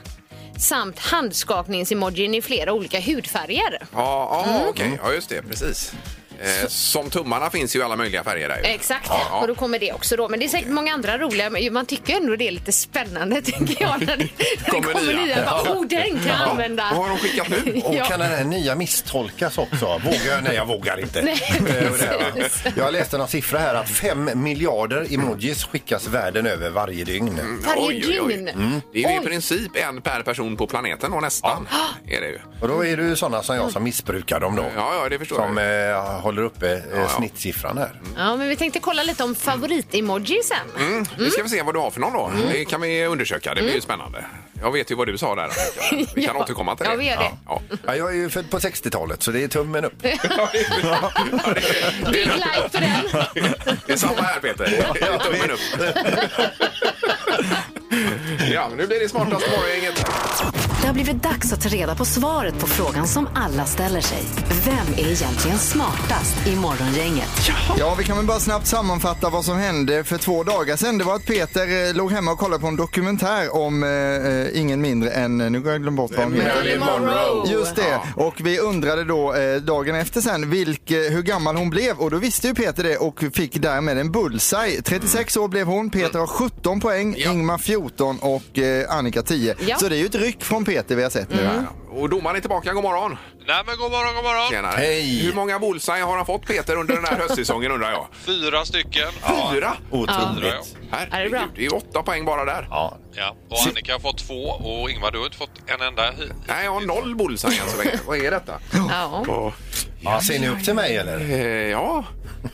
[SPEAKER 5] samt handskakningsemojin i flera olika hudfärger.
[SPEAKER 3] Ja, ja
[SPEAKER 5] Mm.
[SPEAKER 3] okej. Ja, just det. Precis. Eh, som tummarna finns ju i alla möjliga färger. Där. ju.
[SPEAKER 5] Exakt,
[SPEAKER 3] Ja, ja.
[SPEAKER 5] och då kommer det också då. Men det är säkert många andra roliga, men man tycker ändå det är lite spännande *laughs* tänker jag. När det, när det
[SPEAKER 3] Kommer
[SPEAKER 5] kommer
[SPEAKER 3] nya.
[SPEAKER 5] nya. Bara, oh, den kan jag använda.
[SPEAKER 3] Vad har de skickat nu?
[SPEAKER 5] *laughs* *laughs*
[SPEAKER 4] Och
[SPEAKER 5] Ja.
[SPEAKER 4] kan den här nya misstolkas också? Vågar jag? Nej, jag vågar inte. Eh, och *laughs* det här, va? jag läste någon siffra här att 5 miljarder emojis skickas världen över varje
[SPEAKER 3] Mm.
[SPEAKER 4] dygn.
[SPEAKER 5] Varje
[SPEAKER 3] Oj, oj, Mm. oj.
[SPEAKER 5] dygn.
[SPEAKER 3] Det är ju i
[SPEAKER 5] Oj.
[SPEAKER 3] princip en per person på planeten och nästan. Är det ju.
[SPEAKER 4] Och då är det ju sådana som jag som missbrukar dem då.
[SPEAKER 3] Ja, ja, det förstår
[SPEAKER 4] Som
[SPEAKER 3] jag.
[SPEAKER 4] eh, håller uppe eh, snittsiffran här.
[SPEAKER 5] Ja, men vi tänkte kolla lite om favoritemoji sen.
[SPEAKER 3] Mm.
[SPEAKER 5] eh,
[SPEAKER 3] Nu ska vi se vad du har för någon då.
[SPEAKER 5] Mm.
[SPEAKER 3] Det kan vi undersöka. Det blir ju spännande. Jag vet ju vad du sa där.
[SPEAKER 5] *laughs*
[SPEAKER 3] Annika. Vi kan
[SPEAKER 5] Ja.
[SPEAKER 3] återkomma till det.
[SPEAKER 5] Ja, vi gör det.
[SPEAKER 3] Ja.
[SPEAKER 4] Ja, jag är ju född på 60-talet så det är
[SPEAKER 5] *laughs*
[SPEAKER 4] tummen upp.
[SPEAKER 5] Big like för den.
[SPEAKER 3] Det är samma här
[SPEAKER 5] *laughs*
[SPEAKER 3] Peter. Tummen upp. Ja, men nu blir det smartaste morgongänget.
[SPEAKER 2] Det Det har blivit dags att ta reda på svaret på frågan som alla ställer sig. Vem är egentligen smartast i Morgongänget?
[SPEAKER 6] Ja, vi kan väl bara snabbt sammanfatta vad som hände för två dagar sedan. Det var att Peter eh, låg hemma och kollade på en dokumentär om eh, eh, ingen mindre än, nu har jag glömt bort vad hon heter.
[SPEAKER 3] Marilyn
[SPEAKER 5] Monroe.
[SPEAKER 6] Just det. Och vi undrade då eh, dagen efter sen vilk, eh, hur gammal hon blev och då visste ju Peter det och fick därmed en bullseye. 36 år blev hon, Peter har 17 poäng,
[SPEAKER 3] Ja.
[SPEAKER 6] Ingmar 14 och eh, Annika 10.
[SPEAKER 5] Ja.
[SPEAKER 6] Så det är ju ett ryck från Peter vi har sett nu. här.
[SPEAKER 3] Och domaren är tillbaka, god morgon.
[SPEAKER 9] Nej men god morgon, god morgon.
[SPEAKER 3] Tjenare.
[SPEAKER 4] Hej.
[SPEAKER 3] Hur många bullseye har han fått Peter under den här höstsäsongen undrar jag?
[SPEAKER 9] Fyra stycken.
[SPEAKER 3] Fyra?
[SPEAKER 9] Fyra, ja.
[SPEAKER 4] Otroligt.
[SPEAKER 5] Ja, det är bra.
[SPEAKER 3] Herregud, det är ju åtta poäng bara där.
[SPEAKER 4] Ja.
[SPEAKER 9] ja. Och Annika har fått två och Ingvar du har inte fått en enda hit.
[SPEAKER 3] Nej, jag har noll bullseye än
[SPEAKER 5] *laughs*
[SPEAKER 3] så länge. Vad är detta?
[SPEAKER 5] Ja.
[SPEAKER 3] Och,
[SPEAKER 4] Ja, ser ni upp till mig eller?
[SPEAKER 3] eh, ja,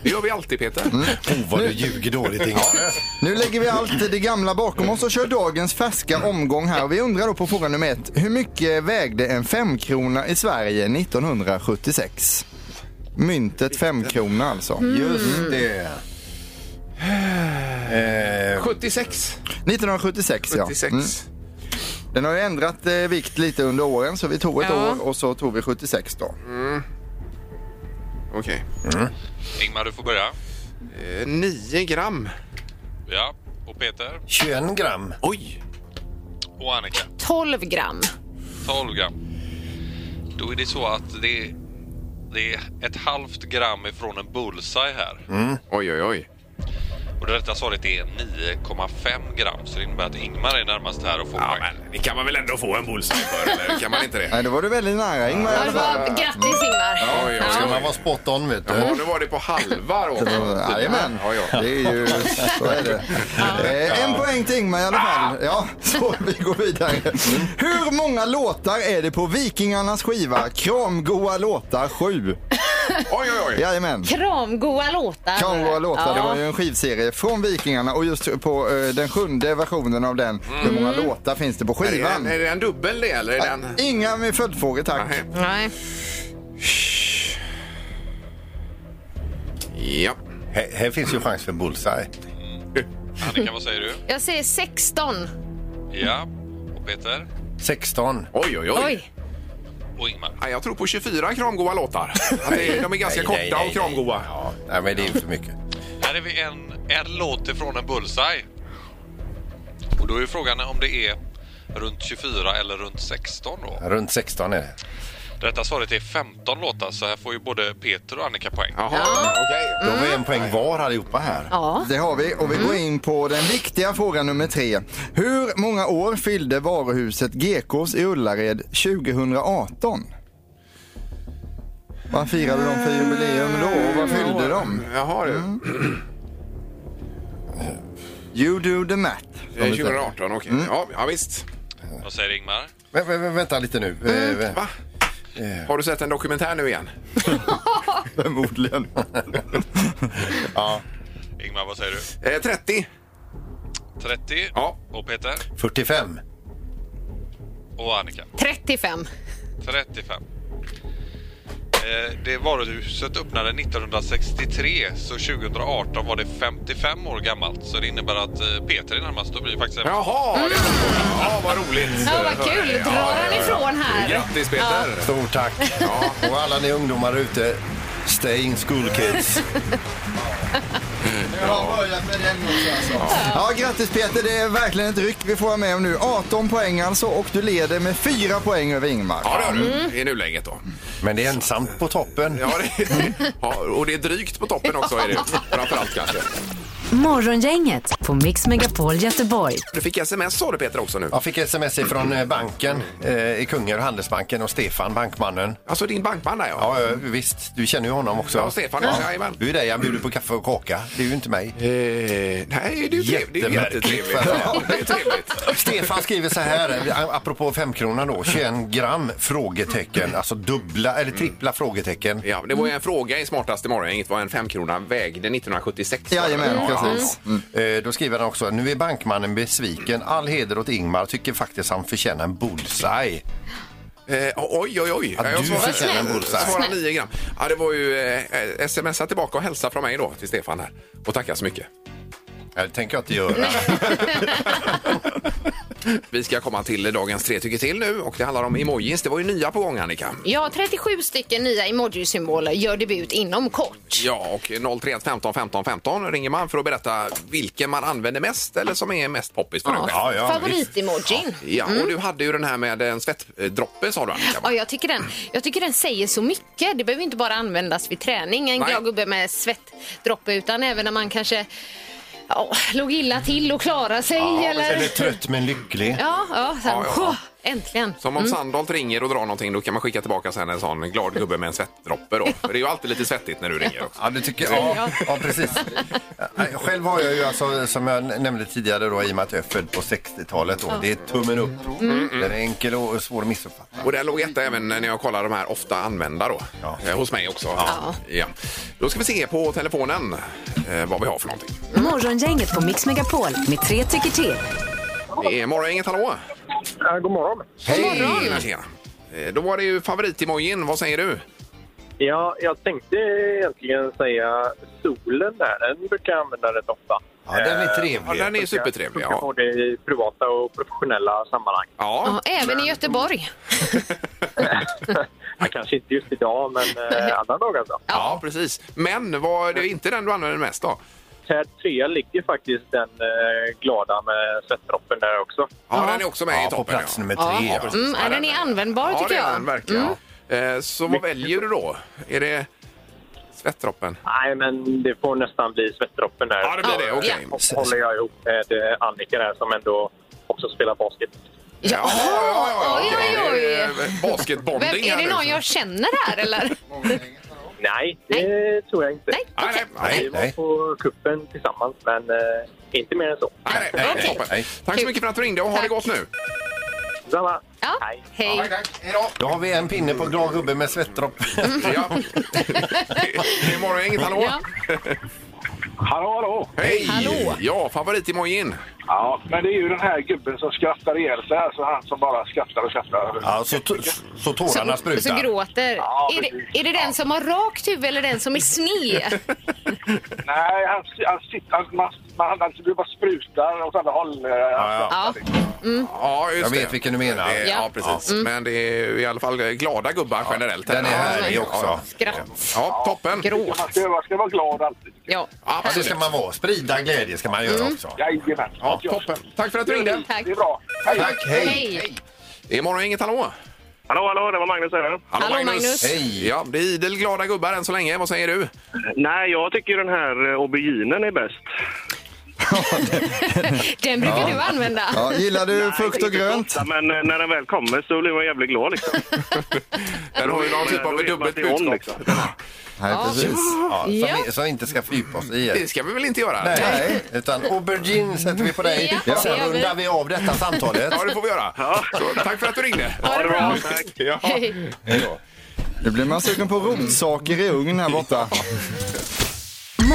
[SPEAKER 3] det gör vi alltid Peter.
[SPEAKER 5] Mm.
[SPEAKER 4] Oh, vad du ljuger dåligt Ingmar.
[SPEAKER 6] Nu lägger vi allt det gamla bakom oss och kör dagens färska omgång här. Och vi undrar då på fråga nummer ett. Hur mycket vägde en femkrona i Sverige 1976? Myntet femkrona alltså.
[SPEAKER 5] Mm.
[SPEAKER 3] Mm.
[SPEAKER 4] Just det. Eh,
[SPEAKER 3] 76.
[SPEAKER 6] 1976 ja.
[SPEAKER 3] 76.
[SPEAKER 6] Mm. Den har ju ändrat eh, vikt lite under åren så vi tog ett
[SPEAKER 5] Ja. Mm.
[SPEAKER 6] år och så tog vi 76 då.
[SPEAKER 3] Okej.
[SPEAKER 9] Ingmar du får börja.
[SPEAKER 3] Eh, 9 gram.
[SPEAKER 9] Ja. Och Peter
[SPEAKER 4] 21 gram.
[SPEAKER 3] Oj!
[SPEAKER 9] och Annika.
[SPEAKER 5] 12 gram.
[SPEAKER 9] 12 gram. Då är det så att det är, det är ett halvt gram ifrån en bullseye här.
[SPEAKER 3] Oj, oj, oj.
[SPEAKER 9] Och det rätta svaret är 9,5 gram. Så det innebär att Ingmar är närmast här och får
[SPEAKER 3] Ja,
[SPEAKER 9] poäng.
[SPEAKER 3] men det kan man väl ändå få en bullseye för? Eller kan man inte det?
[SPEAKER 6] Nej, då var du väldigt nära Ingmar i
[SPEAKER 5] Ja, det
[SPEAKER 6] alla
[SPEAKER 5] var,
[SPEAKER 6] fall.
[SPEAKER 5] grattis Ingmar.
[SPEAKER 3] Oj, oj,
[SPEAKER 4] Ska
[SPEAKER 3] oj. Mm.
[SPEAKER 4] man vara spot on vet du.
[SPEAKER 3] Ja, nu var det på halva då.
[SPEAKER 6] Jajamän,
[SPEAKER 3] Ja, ja.
[SPEAKER 6] det är ju... Så är det. Eh, en poäng till Ingmar i alla fall. Ja, så vi går vidare. Hur många låtar är det på Vikingarnas skiva Kramgoa låtar 7?
[SPEAKER 3] Oj, oj, oj.
[SPEAKER 6] Jajamän.
[SPEAKER 5] Kramgoa låtar.
[SPEAKER 6] Kramgoa låtar, det
[SPEAKER 5] Ja.
[SPEAKER 6] var ju en skivserie från Vikingarna och just på eh, den sjunde versionen av den, hur många låtar finns det på
[SPEAKER 3] Mm. Är det, en,
[SPEAKER 6] skivan?
[SPEAKER 3] är det en dubbel det eller är det en...
[SPEAKER 6] Inga med följdfrågor tack.
[SPEAKER 3] Nej.
[SPEAKER 5] Nej.
[SPEAKER 3] Ja.
[SPEAKER 4] Här, här finns ju chans för bullseye.
[SPEAKER 9] Annika, vad säger du?
[SPEAKER 5] Jag säger 16.
[SPEAKER 9] Ja. Och Peter
[SPEAKER 4] 16.
[SPEAKER 3] Oj, oj, oj.
[SPEAKER 5] Oj.
[SPEAKER 9] och Ingmar.
[SPEAKER 3] Ja, jag tror på 24 kramgoa låtar. Att det, de är ganska
[SPEAKER 4] Nej,
[SPEAKER 3] korta
[SPEAKER 4] nej, nej,
[SPEAKER 3] och kramgoa.
[SPEAKER 4] Ja, nej, men det är ju för mycket.
[SPEAKER 9] Här är vi en, en låt ifrån en bullseye. Och då är ju frågan om det är runt 24 eller runt 16 då.
[SPEAKER 4] Runt 16 är det.
[SPEAKER 9] Rätta svaret är 15 låtar så här får ju både Peter och Annika poäng.
[SPEAKER 3] Jaha, okej.
[SPEAKER 4] Då har vi en poäng var allihopa här.
[SPEAKER 5] Ja.
[SPEAKER 6] Det har vi och vi går in på den viktiga frågan nummer tre. Hur många år fyllde varuhuset Gekås i Ullared 2018? Vad firade de för jubileum då och vad fyllde de?
[SPEAKER 3] Jaha, du.
[SPEAKER 6] Mm. You do the math. som
[SPEAKER 3] Eh,
[SPEAKER 6] det heter.
[SPEAKER 3] 2018, okej.
[SPEAKER 6] Mm.
[SPEAKER 3] Ja, ja, visst.
[SPEAKER 9] Vad säger Ingmar?
[SPEAKER 4] Vä vä vä- vänta lite nu. Eh, vä-
[SPEAKER 3] Va? Har du sett en dokumentär nu igen?
[SPEAKER 6] Förmodligen.
[SPEAKER 9] Ingmar, vad säger du?
[SPEAKER 3] Eh, 30.
[SPEAKER 9] 30
[SPEAKER 3] Ja.
[SPEAKER 9] och Peter
[SPEAKER 4] 45.
[SPEAKER 9] och Annika.
[SPEAKER 5] 35.
[SPEAKER 9] 35. Eh, Det varuhuset öppnade 1963 så 2018 var det 55 år gammalt. Så det innebär att eh, Peter är närmast. Då blir det faktiskt en
[SPEAKER 3] Jaha, det ja, vad roligt.
[SPEAKER 5] Ja, vad kul. Drar han ifrån här.
[SPEAKER 3] Grattis Peter.
[SPEAKER 4] Stort tack.
[SPEAKER 3] *laughs*
[SPEAKER 4] Ja. Och alla ni ungdomar ute, stay in school kids.
[SPEAKER 6] Jag har börjat med den också alltså. Ja, grattis Peter. Det är verkligen ett ryck vi får vara med om nu. 18 poäng alltså och du leder med 4 poäng över Ingmar.
[SPEAKER 3] Ja, det har du. I nuläget då.
[SPEAKER 4] Men det är ensamt på toppen.
[SPEAKER 3] Ja, det, *laughs* ja, och det är drygt på toppen också är det ju. Framförallt kanske.
[SPEAKER 2] Morgongänget på Mix Megapol Göteborg.
[SPEAKER 3] Du fick sms sa du Peter också nu.
[SPEAKER 4] Jag fick sms från banken eh, i Kungälv, Handelsbanken och Stefan, bankmannen.
[SPEAKER 3] Alltså din bankman där ja.
[SPEAKER 4] Ja, Eh, ja, visst. Du känner ju honom också.
[SPEAKER 3] Ja, Stefan, ja, jajamän.
[SPEAKER 4] Du är dig han bjuder på kaffe och kaka. Det är ju inte mig.
[SPEAKER 3] Eh, nej, det är ju trevligt. Det är ju
[SPEAKER 4] Jättemärkligt.
[SPEAKER 3] jättetrevligt. Ja, det är trevligt.
[SPEAKER 4] Stefan skriver så här, eh, apropå femkronan då, 21 gram? Frågetecken. Alltså dubbla eller trippla frågetecken.
[SPEAKER 3] Ja, det var ju en fråga i Smartaste morgongänget vad en femkrona vägde 1976.
[SPEAKER 6] Jajamän,
[SPEAKER 3] Ja, ja,
[SPEAKER 6] precis. Mm.
[SPEAKER 4] Eh, Då skriver han också, nu är bankmannen besviken. All heder åt Ingmar, tycker faktiskt han förtjänar en bullseye.
[SPEAKER 3] ja. Eh, oj, oj, oj.
[SPEAKER 4] Ja,
[SPEAKER 3] Ja, jag
[SPEAKER 4] du
[SPEAKER 3] svarade-
[SPEAKER 4] förtjänar en bullseye.
[SPEAKER 3] jag svarade 9 gram. Ja, det var ju eh, smsa tillbaka och hälsa från mig då till Stefan här. Och tacka så mycket.
[SPEAKER 4] Ja, Det tänker jag inte göra.
[SPEAKER 3] Vi ska komma till dagens tre tycker till nu och det handlar om emojis. Det var ju nya på gång Annika.
[SPEAKER 5] Ja, 37 stycken nya emoji-symboler gör debut inom kort.
[SPEAKER 3] Ja, och 031 15 15 15 ringer man för att berätta vilken man använder mest eller som är mest poppis. för ja. Mm.
[SPEAKER 4] ja, visst.
[SPEAKER 5] Favorit-emojin.
[SPEAKER 3] ja, och du hade ju den här med en svettdroppe sa du Annika.
[SPEAKER 5] Ja, jag, tycker den, jag tycker den säger så mycket. Det behöver inte bara användas vid träning, en
[SPEAKER 3] Nej.
[SPEAKER 5] glad gubbe med svettdroppe, utan även när man kanske ja, låg illa till och klarade sig. eller,
[SPEAKER 4] Eller trött men lycklig.
[SPEAKER 5] Ja, ja, så här,
[SPEAKER 3] Ja, ja.
[SPEAKER 5] "Åh, äntligen.
[SPEAKER 3] Som om Sandholt ringer och drar någonting, då kan man skicka tillbaka sen en sån glad gubbe med en svettdroppe då. För det är ju alltid lite svettigt när du ringer också.
[SPEAKER 4] Ja, det tycker jag. Ja, ja precis. Nej, Själv har jag ju, alltså, som jag nämnde tidigare, då, i och med att jag är född på 60-talet. Då, Det är tummen upp. Den är enkel och svår att missuppfatta.
[SPEAKER 3] Och där låg detta även när jag kollade de här ofta använda då.
[SPEAKER 4] Ja.
[SPEAKER 3] Eh, Hos mig också. Ja. Då ska vi se på telefonen eh, vad vi har för någonting.
[SPEAKER 2] Morgongänget på Mix Megapol med tre tycker till.
[SPEAKER 3] Det är morgongänget, hallå!
[SPEAKER 1] Ja, god morgon.
[SPEAKER 3] Hej! Tjena, tjena. Eh, Då var det ju favoritemojin, vad säger du?
[SPEAKER 1] Ja, jag tänkte egentligen säga solen där. Den brukar jag använda rätt ofta.
[SPEAKER 4] Ja, den är
[SPEAKER 3] Eh, Ja,
[SPEAKER 4] trevlig.
[SPEAKER 3] den är supertrevlig.
[SPEAKER 1] Funkar
[SPEAKER 3] Ja.
[SPEAKER 1] både i privata och professionella sammanhang.
[SPEAKER 3] Ja.
[SPEAKER 5] Ja, även i Göteborg.
[SPEAKER 1] Ja, kanske inte just idag, men eh, andra dagar då.
[SPEAKER 3] ja, precis. Men var det inte den du använder mest då?
[SPEAKER 1] Här trea ligger faktiskt den eh, glada med svettdroppen där också.
[SPEAKER 3] Ja, den är också med
[SPEAKER 4] Ja,
[SPEAKER 3] i
[SPEAKER 4] på
[SPEAKER 3] toppen.
[SPEAKER 4] plats nummer
[SPEAKER 5] Ja.
[SPEAKER 4] tre. Ja.
[SPEAKER 3] precis.
[SPEAKER 5] Mm,
[SPEAKER 3] Ja,
[SPEAKER 5] ja, den är användbar
[SPEAKER 3] ja,
[SPEAKER 5] tycker
[SPEAKER 3] det är
[SPEAKER 5] jag. Mm.
[SPEAKER 3] den verkligen. Eh, Så vad väljer du då? Är det svettdroppen?
[SPEAKER 1] Nej, men det får nästan bli svettdroppen där.
[SPEAKER 3] Ja, det blir det.
[SPEAKER 5] Ja.
[SPEAKER 3] Okej.
[SPEAKER 1] Och så håller jag ihop med eh, Annika där som ändå också spelar basket.
[SPEAKER 5] Ja. oj, oj, oj.
[SPEAKER 3] Det är, eh, Basketbonding
[SPEAKER 5] Vem, är
[SPEAKER 3] här
[SPEAKER 5] det
[SPEAKER 3] nu.
[SPEAKER 5] någon jag känner här eller?
[SPEAKER 1] Nej, det tror jag inte.
[SPEAKER 5] Nej.
[SPEAKER 3] Nej, nej, nej.
[SPEAKER 1] Vi var på kuppen tillsammans, men eh, inte mer än så.
[SPEAKER 3] Nej, nej, nej,
[SPEAKER 5] Okej.
[SPEAKER 3] toppen. Tack så
[SPEAKER 5] Kul.
[SPEAKER 3] mycket för att du ringde och ha det
[SPEAKER 5] Tack.
[SPEAKER 3] gott
[SPEAKER 5] *laughs*
[SPEAKER 3] nu.
[SPEAKER 1] Samma.
[SPEAKER 5] Ja,
[SPEAKER 1] Hej.
[SPEAKER 5] hej.
[SPEAKER 4] Då har vi en pinne på glad gubbe med svettdropp.
[SPEAKER 3] Ja. *laughs* Det är morgongänget, hallå!
[SPEAKER 5] Ja.
[SPEAKER 10] Hallå, hallå!
[SPEAKER 3] Hej!
[SPEAKER 5] Hallå.
[SPEAKER 3] Ja, favoritemojin.
[SPEAKER 10] Ja, men det är ju den här gubben som skrattar ihjäl sig här, så han som bara skrattar och skrattar.
[SPEAKER 4] Ja, så, t- så
[SPEAKER 5] Så, så
[SPEAKER 4] tårarna sprutar.
[SPEAKER 5] gråter.
[SPEAKER 10] Ja,
[SPEAKER 5] är,
[SPEAKER 10] precis.
[SPEAKER 5] det, är det den som har rakt huvud eller den som är
[SPEAKER 3] *laughs*
[SPEAKER 5] sned?
[SPEAKER 10] Nej, han, han sitter... Han, man, man, han det bara sprutar åt alla håll. eh,
[SPEAKER 4] ja.
[SPEAKER 5] Ja.
[SPEAKER 3] Ja, just
[SPEAKER 4] Jag
[SPEAKER 3] det.
[SPEAKER 4] vet vilken du menar.
[SPEAKER 3] Det är- Ja, precis. Men det är i alla fall glada gubbar generellt.
[SPEAKER 4] Den är
[SPEAKER 3] Ja,
[SPEAKER 4] härlig också.
[SPEAKER 5] Skratt,
[SPEAKER 3] Ja, toppen.
[SPEAKER 5] gråt.
[SPEAKER 10] Man ska, man ska vara glad alltid.
[SPEAKER 5] Ja.
[SPEAKER 4] Ja, det ska
[SPEAKER 3] Absolut.
[SPEAKER 4] man vara. Sprida glädje ska man göra också.
[SPEAKER 10] Jajamän.
[SPEAKER 3] Ja, toppen. Tack för att du
[SPEAKER 1] Mm.
[SPEAKER 3] ringde.
[SPEAKER 5] Tack.
[SPEAKER 10] Det är bra. Hej!
[SPEAKER 4] Tack, hej!
[SPEAKER 5] Hej.
[SPEAKER 3] Det är morgongänget, hallå!
[SPEAKER 1] Hallå, hallå, det var Magnus här.
[SPEAKER 3] Hallå,
[SPEAKER 5] Hallå, Magnus.
[SPEAKER 3] Hej! Ja, det är idel glada gubbar än så länge. Vad säger du?
[SPEAKER 1] Nej, jag tycker den här eh, auberginen är bäst.
[SPEAKER 5] Den brukar du använda.
[SPEAKER 6] Ja, gillar du frukt och
[SPEAKER 1] Inte så
[SPEAKER 6] grönt?
[SPEAKER 1] ofta, Men eh, när den väl kommer så blir man jävligt glad liksom.
[SPEAKER 3] Den har ju någon typ
[SPEAKER 1] Då
[SPEAKER 3] av
[SPEAKER 1] vet man
[SPEAKER 3] dubbelt
[SPEAKER 1] att det är on,
[SPEAKER 3] budskap.
[SPEAKER 1] liksom.
[SPEAKER 6] Nej, precis.
[SPEAKER 4] Ja, som,
[SPEAKER 5] Ja.
[SPEAKER 4] vi, som inte ska fördjupa oss i.
[SPEAKER 3] Det ska vi väl inte göra?
[SPEAKER 4] Nej, utan aubergine sätter vi på dig.
[SPEAKER 5] Ja,
[SPEAKER 4] och
[SPEAKER 5] det
[SPEAKER 4] Sen
[SPEAKER 5] gör vi.
[SPEAKER 4] rundar vi av detta samtalet.
[SPEAKER 3] Ja, det får vi göra. Så, tack för att du ringde.
[SPEAKER 5] Ha det bra.
[SPEAKER 3] Ja.
[SPEAKER 5] Hej.
[SPEAKER 6] Nu blir man sugen på rotsaker i ugn här borta.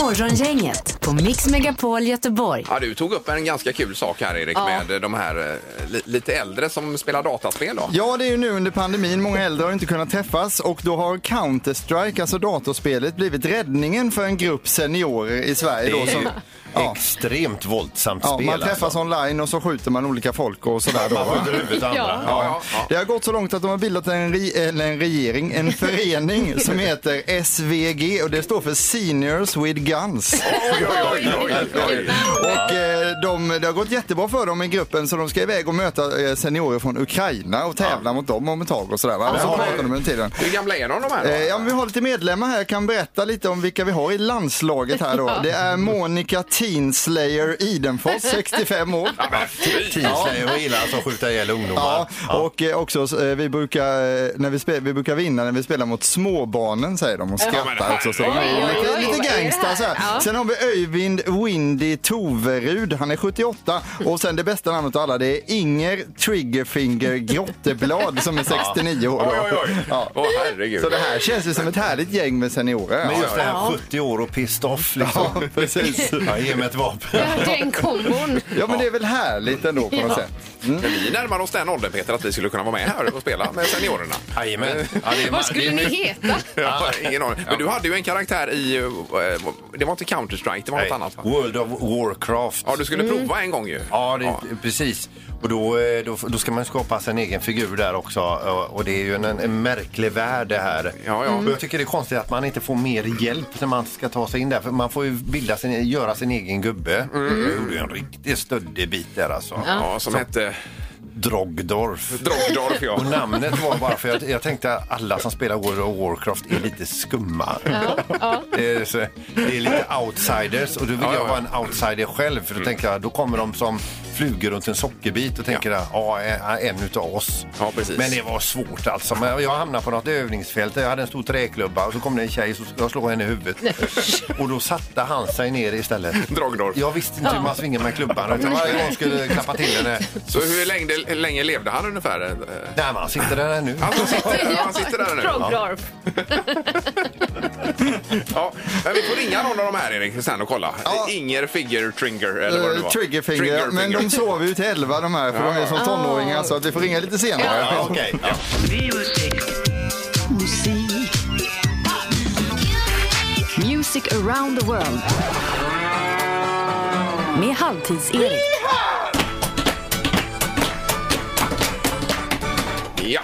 [SPEAKER 2] Morgongänget på Mix Megapol Göteborg.
[SPEAKER 3] Ja, du tog upp en ganska kul sak här, Erik,
[SPEAKER 5] Ja.
[SPEAKER 3] med de här eh, li- lite äldre som spelar dataspel. Då.
[SPEAKER 6] Ja, det är ju nu under pandemin. Många äldre har inte kunnat träffas och då har Counter-Strike, alltså datorspelet, blivit räddningen för en grupp seniorer i Sverige. Då,
[SPEAKER 4] Det är
[SPEAKER 6] som,
[SPEAKER 4] ju
[SPEAKER 6] ja,
[SPEAKER 4] Extremt våldsamt
[SPEAKER 6] ja,
[SPEAKER 4] spel.
[SPEAKER 6] man träffas
[SPEAKER 4] alltså.
[SPEAKER 6] online och så skjuter man olika folk och sådär. Då,
[SPEAKER 4] Man
[SPEAKER 6] va?
[SPEAKER 4] skjuter huvudet andra.
[SPEAKER 5] Ja.
[SPEAKER 4] Ja.
[SPEAKER 3] Ja, ja,
[SPEAKER 6] Det har gått så långt att de har bildat en, re- eller en
[SPEAKER 4] *laughs*
[SPEAKER 6] regering, en förening som heter SVG och det står för Seniors with Guns.
[SPEAKER 3] Oj, oj, oj, oj, oj.
[SPEAKER 6] Och eh, de, det har gått jättebra för dem i gruppen så de ska iväg och möta eh, seniorer från Ukraina och tävla mot dem om ett tag och sådär. Va? Så pratar de under tiden.
[SPEAKER 3] Hur gamla är de, de här?
[SPEAKER 6] Eh,
[SPEAKER 3] Då?
[SPEAKER 6] Ja, men vi har lite medlemmar här. Jag kan berätta lite om vilka vi har i landslaget här då. Det är Monica Teenslayer Idenfors, 65 år.
[SPEAKER 4] Teamslayer och gillar alltså att skjuta ihjäl ungdomar.
[SPEAKER 6] Ja, och eh, också eh, vi brukar, eh, när vi, spe, vi brukar vinna när vi spelar mot småbarnen säger de och skrattar
[SPEAKER 3] men
[SPEAKER 6] också. Så de är
[SPEAKER 5] herregud. Oj, oj, oj,
[SPEAKER 6] lite, lite
[SPEAKER 5] vad är det
[SPEAKER 6] gangsta
[SPEAKER 5] här?
[SPEAKER 6] så här.
[SPEAKER 5] Ja.
[SPEAKER 6] Sen har vi Öyvind Windy Toverud, han är 78 och sen det bästa namnet av alla det är Inger Triggerfinger Grotteblad som är 69 år. då.
[SPEAKER 3] Oj, oj, oj.
[SPEAKER 6] Ja.
[SPEAKER 3] Åh, herregud.
[SPEAKER 6] Så det här känns ju som ett härligt gäng med seniorer.
[SPEAKER 4] Men
[SPEAKER 6] Ja,
[SPEAKER 4] just det här 70 år och pissed off liksom.
[SPEAKER 6] Ja, precis.
[SPEAKER 4] Ja, ge mig ett vapen.
[SPEAKER 5] Ja, Den kombon.
[SPEAKER 6] Ja, men det är väl härligt ändå på något sätt.
[SPEAKER 3] Men vi närmar oss den åldern Peter att vi skulle kunna vara med här och spela med seniorerna.
[SPEAKER 4] Jajamän. Ja, det är-
[SPEAKER 5] Vad
[SPEAKER 4] det
[SPEAKER 5] skulle
[SPEAKER 4] är
[SPEAKER 5] ni
[SPEAKER 4] nu-
[SPEAKER 5] heta?
[SPEAKER 3] *laughs* Ja, ingen aning. Men du hade ju en karaktär i... eh, Det var inte Counter-Strike, det var något annat va?
[SPEAKER 4] World of Warcraft.
[SPEAKER 3] Ja, du skulle prova en gång ju.
[SPEAKER 4] Ja, det, precis. Och då, eh, då, då ska man skapa sin egen figur där också. Och- Och det är ju en, en märklig värld det här.
[SPEAKER 3] Ja, ja.
[SPEAKER 4] Och jag tycker det är konstigt att man inte får mer hjälp när man ska ta sig in där. För man får ju bilda sin, göra sin egen gubbe. Jag gjorde ju en riktig stöddig bit där alltså.
[SPEAKER 3] Ja, som hette
[SPEAKER 4] Drogdorf.
[SPEAKER 3] Drogdorf ja.
[SPEAKER 4] Och *laughs* namnet var bara för jag, jag tänkte att alla som spelar World of Warcraft är lite skumma.
[SPEAKER 5] ja.
[SPEAKER 4] Det, är, så, det är lite outsiders och då vill
[SPEAKER 3] Ja, ja, Mm.
[SPEAKER 4] jag
[SPEAKER 3] ja.
[SPEAKER 4] vara en outsider själv för då tänker jag då kommer de som flugor runt en sockerbit och tänker att ja, en- en utav oss.
[SPEAKER 3] Ja, precis.
[SPEAKER 4] Men det var svårt alltså. Men jag hamnade på något övningsfält där jag hade en stor träklubba och så kom det en tjej så skulle jag slå henne i huvudet. och då satte han sig ner istället.
[SPEAKER 3] Drogdorf.
[SPEAKER 4] Jag visste inte hur man svingar med klubban utan varje gång skulle jag klappa till henne.
[SPEAKER 3] Så hur länge, hur länge levde han ungefär? Eh,
[SPEAKER 4] Nej, men han sitter där ännu.
[SPEAKER 3] Alltså, han sitter, ja, han sitter där nu.
[SPEAKER 5] Drogdorf.
[SPEAKER 3] Ja, men vi får ringa någon av de här Erik sen och kolla.
[SPEAKER 6] Ja.
[SPEAKER 3] Inger Figger Tringer eller vad det
[SPEAKER 6] Uh,
[SPEAKER 3] var.
[SPEAKER 6] triggerfinger, men de
[SPEAKER 3] Triggerfinger.
[SPEAKER 6] sover ju till elva de här för de är som tonåringar så att vi får ringa lite senare.
[SPEAKER 4] Ja, okej. Ja.
[SPEAKER 2] Music around the world. Med Halvtids-Erik.
[SPEAKER 3] Ja.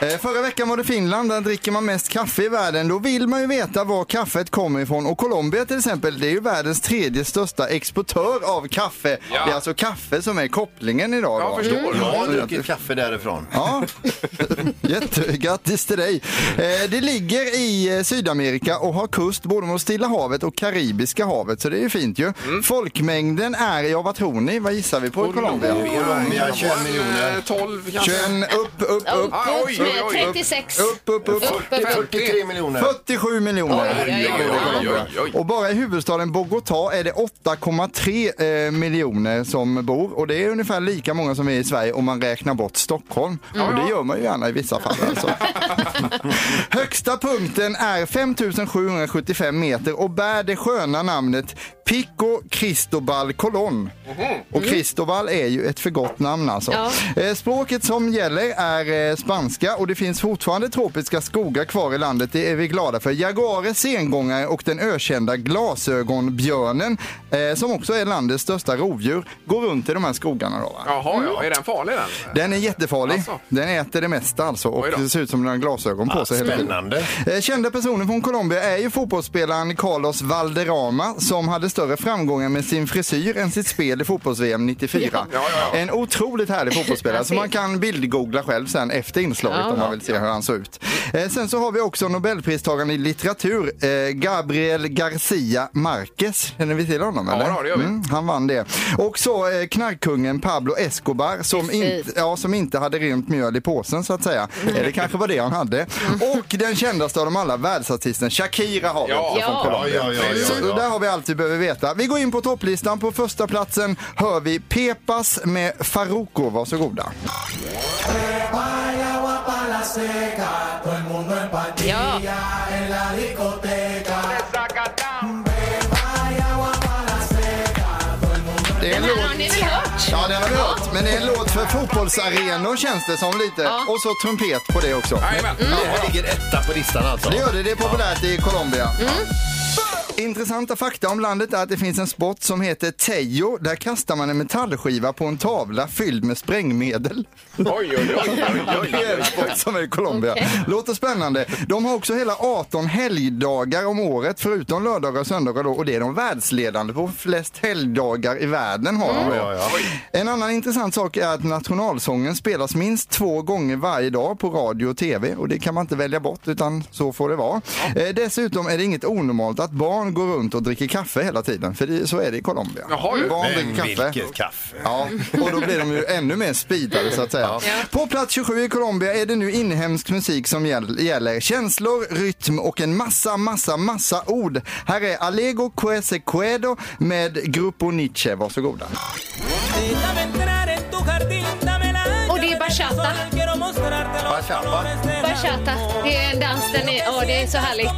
[SPEAKER 6] Eh, Förra veckan var det Finland, där dricker man mest kaffe i världen. Då vill man ju veta var kaffet kommer ifrån. Och Colombia till exempel, det är ju världens tredje största exportör av kaffe.
[SPEAKER 3] Ja.
[SPEAKER 6] Det är alltså kaffe som är kopplingen idag.
[SPEAKER 3] Jag
[SPEAKER 6] då. Mm.
[SPEAKER 3] förstår.
[SPEAKER 4] Jag har druckit kaffe därifrån.
[SPEAKER 6] Ja, jättegrattis till dig. Eh, Det ligger i eh, Sydamerika och har kust både mot Stilla havet och Karibiska havet, så det är ju fint ju. Folkmängden är, ja vad tror ni, vad gissar vi på i Colombia?
[SPEAKER 4] Colombia, 21 miljoner.
[SPEAKER 3] Eh, 12 kanske?
[SPEAKER 6] 21, upp, upp, upp,
[SPEAKER 3] Ah, oj,
[SPEAKER 5] Uppåt
[SPEAKER 3] oj, oj,
[SPEAKER 5] med
[SPEAKER 3] oj.
[SPEAKER 5] 36.
[SPEAKER 6] upp, upp, upp.
[SPEAKER 5] Upp, upp, upp.
[SPEAKER 4] 43 miljoner.
[SPEAKER 6] 47 miljoner.
[SPEAKER 5] Oj, oj,
[SPEAKER 3] oj, oj, oj.
[SPEAKER 6] Och bara i huvudstaden Bogotá är det 8,3 eh, miljoner som bor och det är ungefär lika många som är i Sverige om man räknar bort Stockholm. Och det gör man ju gärna i vissa fall
[SPEAKER 3] *laughs*
[SPEAKER 6] alltså. Högsta punkten är 5775 meter och bär det sköna namnet Pico Cristobal Colón. Och Cristobal är ju ett för gott namn alltså.
[SPEAKER 5] Ja.
[SPEAKER 6] Eh, Språket som gäller är eh, spanska och det finns fortfarande tropiska skogar kvar i landet. Det är vi glada för. Jaguarer, sengångare och den ökända glasögonbjörnen eh, som också är landets största rovdjur går runt i de här skogarna. Då, va?
[SPEAKER 3] Jaha, ja. Är den farlig den?
[SPEAKER 6] Den är jättefarlig.
[SPEAKER 3] Alltså.
[SPEAKER 6] Den äter det mesta alltså och
[SPEAKER 3] Oj då. Ah,
[SPEAKER 6] det ser ut som den har glasögon på sig hela tiden.
[SPEAKER 4] Spännande.
[SPEAKER 6] Eh, Kända personer från Colombia är ju fotbollsspelaren Carlos Valderrama som hade större framgångar med sin frisyr än sitt spel i fotbolls-VM 94.
[SPEAKER 3] Ja, ja, ja.
[SPEAKER 6] En otroligt härlig fotbollsspelare som man kan bildgoogla själv sen efter inslaget
[SPEAKER 5] Ja.
[SPEAKER 6] om man vill se hur han såg ut. Eh, Sen så har vi också Nobelpristagaren i litteratur, eh, Gabriel Garcia Marquez. Känner vi till honom?
[SPEAKER 3] Ja,
[SPEAKER 6] eller? Mm,
[SPEAKER 3] ja, det gör vi.
[SPEAKER 6] han vann det. Och så eh, knarkkungen Pablo Escobar som,
[SPEAKER 5] Precis.
[SPEAKER 6] inte ja, som inte hade rent mjöl i påsen så att säga. Eller kanske var det han hade. Och den kändaste av dem alla, världsartisten Shakira har vi
[SPEAKER 3] Ja.
[SPEAKER 6] också från
[SPEAKER 5] Ja.
[SPEAKER 6] Colombia.
[SPEAKER 4] Ja, ja, ja, ja,
[SPEAKER 6] Så där
[SPEAKER 4] ja.
[SPEAKER 6] har vi allt vi behöver veta. Vi går in på topplistan. På första platsen hör vi Pepas med Faruko. Varsågoda.
[SPEAKER 5] Ja,
[SPEAKER 6] Det är en
[SPEAKER 5] den här har ni
[SPEAKER 6] låt.
[SPEAKER 5] väl hört?
[SPEAKER 6] Ja, den har vi hört. Men det är en låt för fotbollsarenor känns det som lite.
[SPEAKER 5] Ja.
[SPEAKER 6] Och så trumpet på Mm. det också.
[SPEAKER 3] Jajamän.
[SPEAKER 4] Det här ligger etta på listan alltså.
[SPEAKER 6] Det gör det. Det är populärt i Colombia. Intressanta fakta om landet är att det finns en sport som heter Tejo. Där kastar man en metallskiva på en tavla fylld med sprängmedel.
[SPEAKER 3] Oj, oj, oj. oj, oj,
[SPEAKER 6] Det är
[SPEAKER 3] oj.
[SPEAKER 6] en sport som är i Colombia. Låter spännande. De har också hela 18 helgdagar om året förutom lördagar och söndagar då, och det är de världsledande på flest helgdagar i världen har de. då.
[SPEAKER 4] Mm. Ja, ja.
[SPEAKER 6] En annan intressant sak är att nationalsången spelas minst två gånger varje dag på radio och tv och det kan man inte välja bort utan så får det vara. Eh, dessutom är det inget onormalt att barn går runt och dricker kaffe hela tiden för det, så är det i Colombia.
[SPEAKER 3] Jaha, ju.
[SPEAKER 6] barn
[SPEAKER 4] Men
[SPEAKER 6] dricker kaffe.
[SPEAKER 4] vilket kaffe.
[SPEAKER 6] Ja, och då blir de ju ännu mer speedade så att säga. På plats 27 i Colombia är det nu inhemsk musik som gäll- gäller. Känslor, rytm och en massa, massa, massa ord. Här är Alego Cuese Cuedo med Grupo Nietzsche. Varsågoda.
[SPEAKER 5] Och det är bachata.
[SPEAKER 4] Bachata.
[SPEAKER 5] Bachata. Det är en dans. Den är, ja, det är så härligt.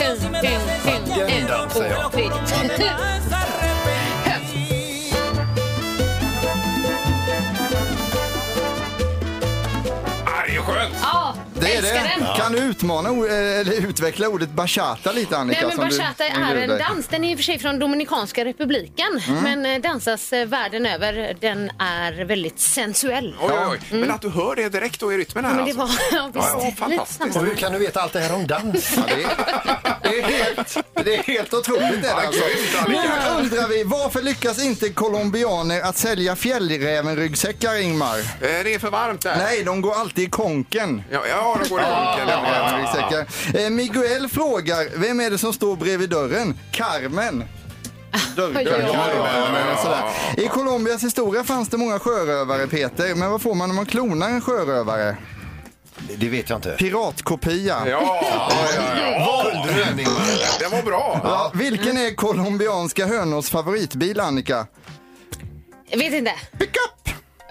[SPEAKER 5] Dun, dun, dun, dun.
[SPEAKER 4] Den dansar jag.
[SPEAKER 5] Fint.
[SPEAKER 6] är
[SPEAKER 5] älskar
[SPEAKER 6] det.
[SPEAKER 5] den.
[SPEAKER 6] Kan du utmana o- eh, eller utveckla ordet bachata lite Annika?
[SPEAKER 5] Nej, men
[SPEAKER 6] som du
[SPEAKER 5] bachata är
[SPEAKER 6] inbjöd
[SPEAKER 5] en
[SPEAKER 6] dig?
[SPEAKER 5] dans. Den är i och för sig från Dominikanska republiken,
[SPEAKER 3] Mm.
[SPEAKER 5] men eh, dansas eh, världen över. Den är väldigt sensuell.
[SPEAKER 3] Oj, oj, oj. Men att du hör det direkt då i rytmen här
[SPEAKER 5] Men det var, *laughs*
[SPEAKER 3] alltså.
[SPEAKER 5] Mm. ja, visst,
[SPEAKER 3] Ja, ja,
[SPEAKER 5] lite
[SPEAKER 3] fantastiskt.
[SPEAKER 5] samma.
[SPEAKER 4] Och hur kan du veta allt det här om dans?
[SPEAKER 6] Ja, det, är, *laughs* det, är helt, det är helt otroligt. Är det, alltså. Nu undrar vi, varför lyckas inte colombianer att sälja fjällräven-ryggsäckar, Ingmar?
[SPEAKER 3] Eh, Det är för varmt där.
[SPEAKER 6] Nej, de går alltid i konken.
[SPEAKER 3] Ja, ja då går det konken. Ja, ja, ja.
[SPEAKER 6] Fjällräven-ryggsäckar. Eh, Miguel frågar, vem är det som står bredvid dörren? Carmen. Dörr-
[SPEAKER 5] Oj, oj, oj.
[SPEAKER 6] dörrkarmen, eller sådär. I Colombias historia fanns det många sjörövare, Peter. Men vad får man om man klonar en sjörövare?
[SPEAKER 4] Det vet jag inte.
[SPEAKER 6] Piratkopia.
[SPEAKER 3] Ja, det var bra.
[SPEAKER 6] Ja, vilken är colombianska hönors favoritbil, Annika?
[SPEAKER 5] Jag vet inte. Eh,
[SPEAKER 6] Pickup!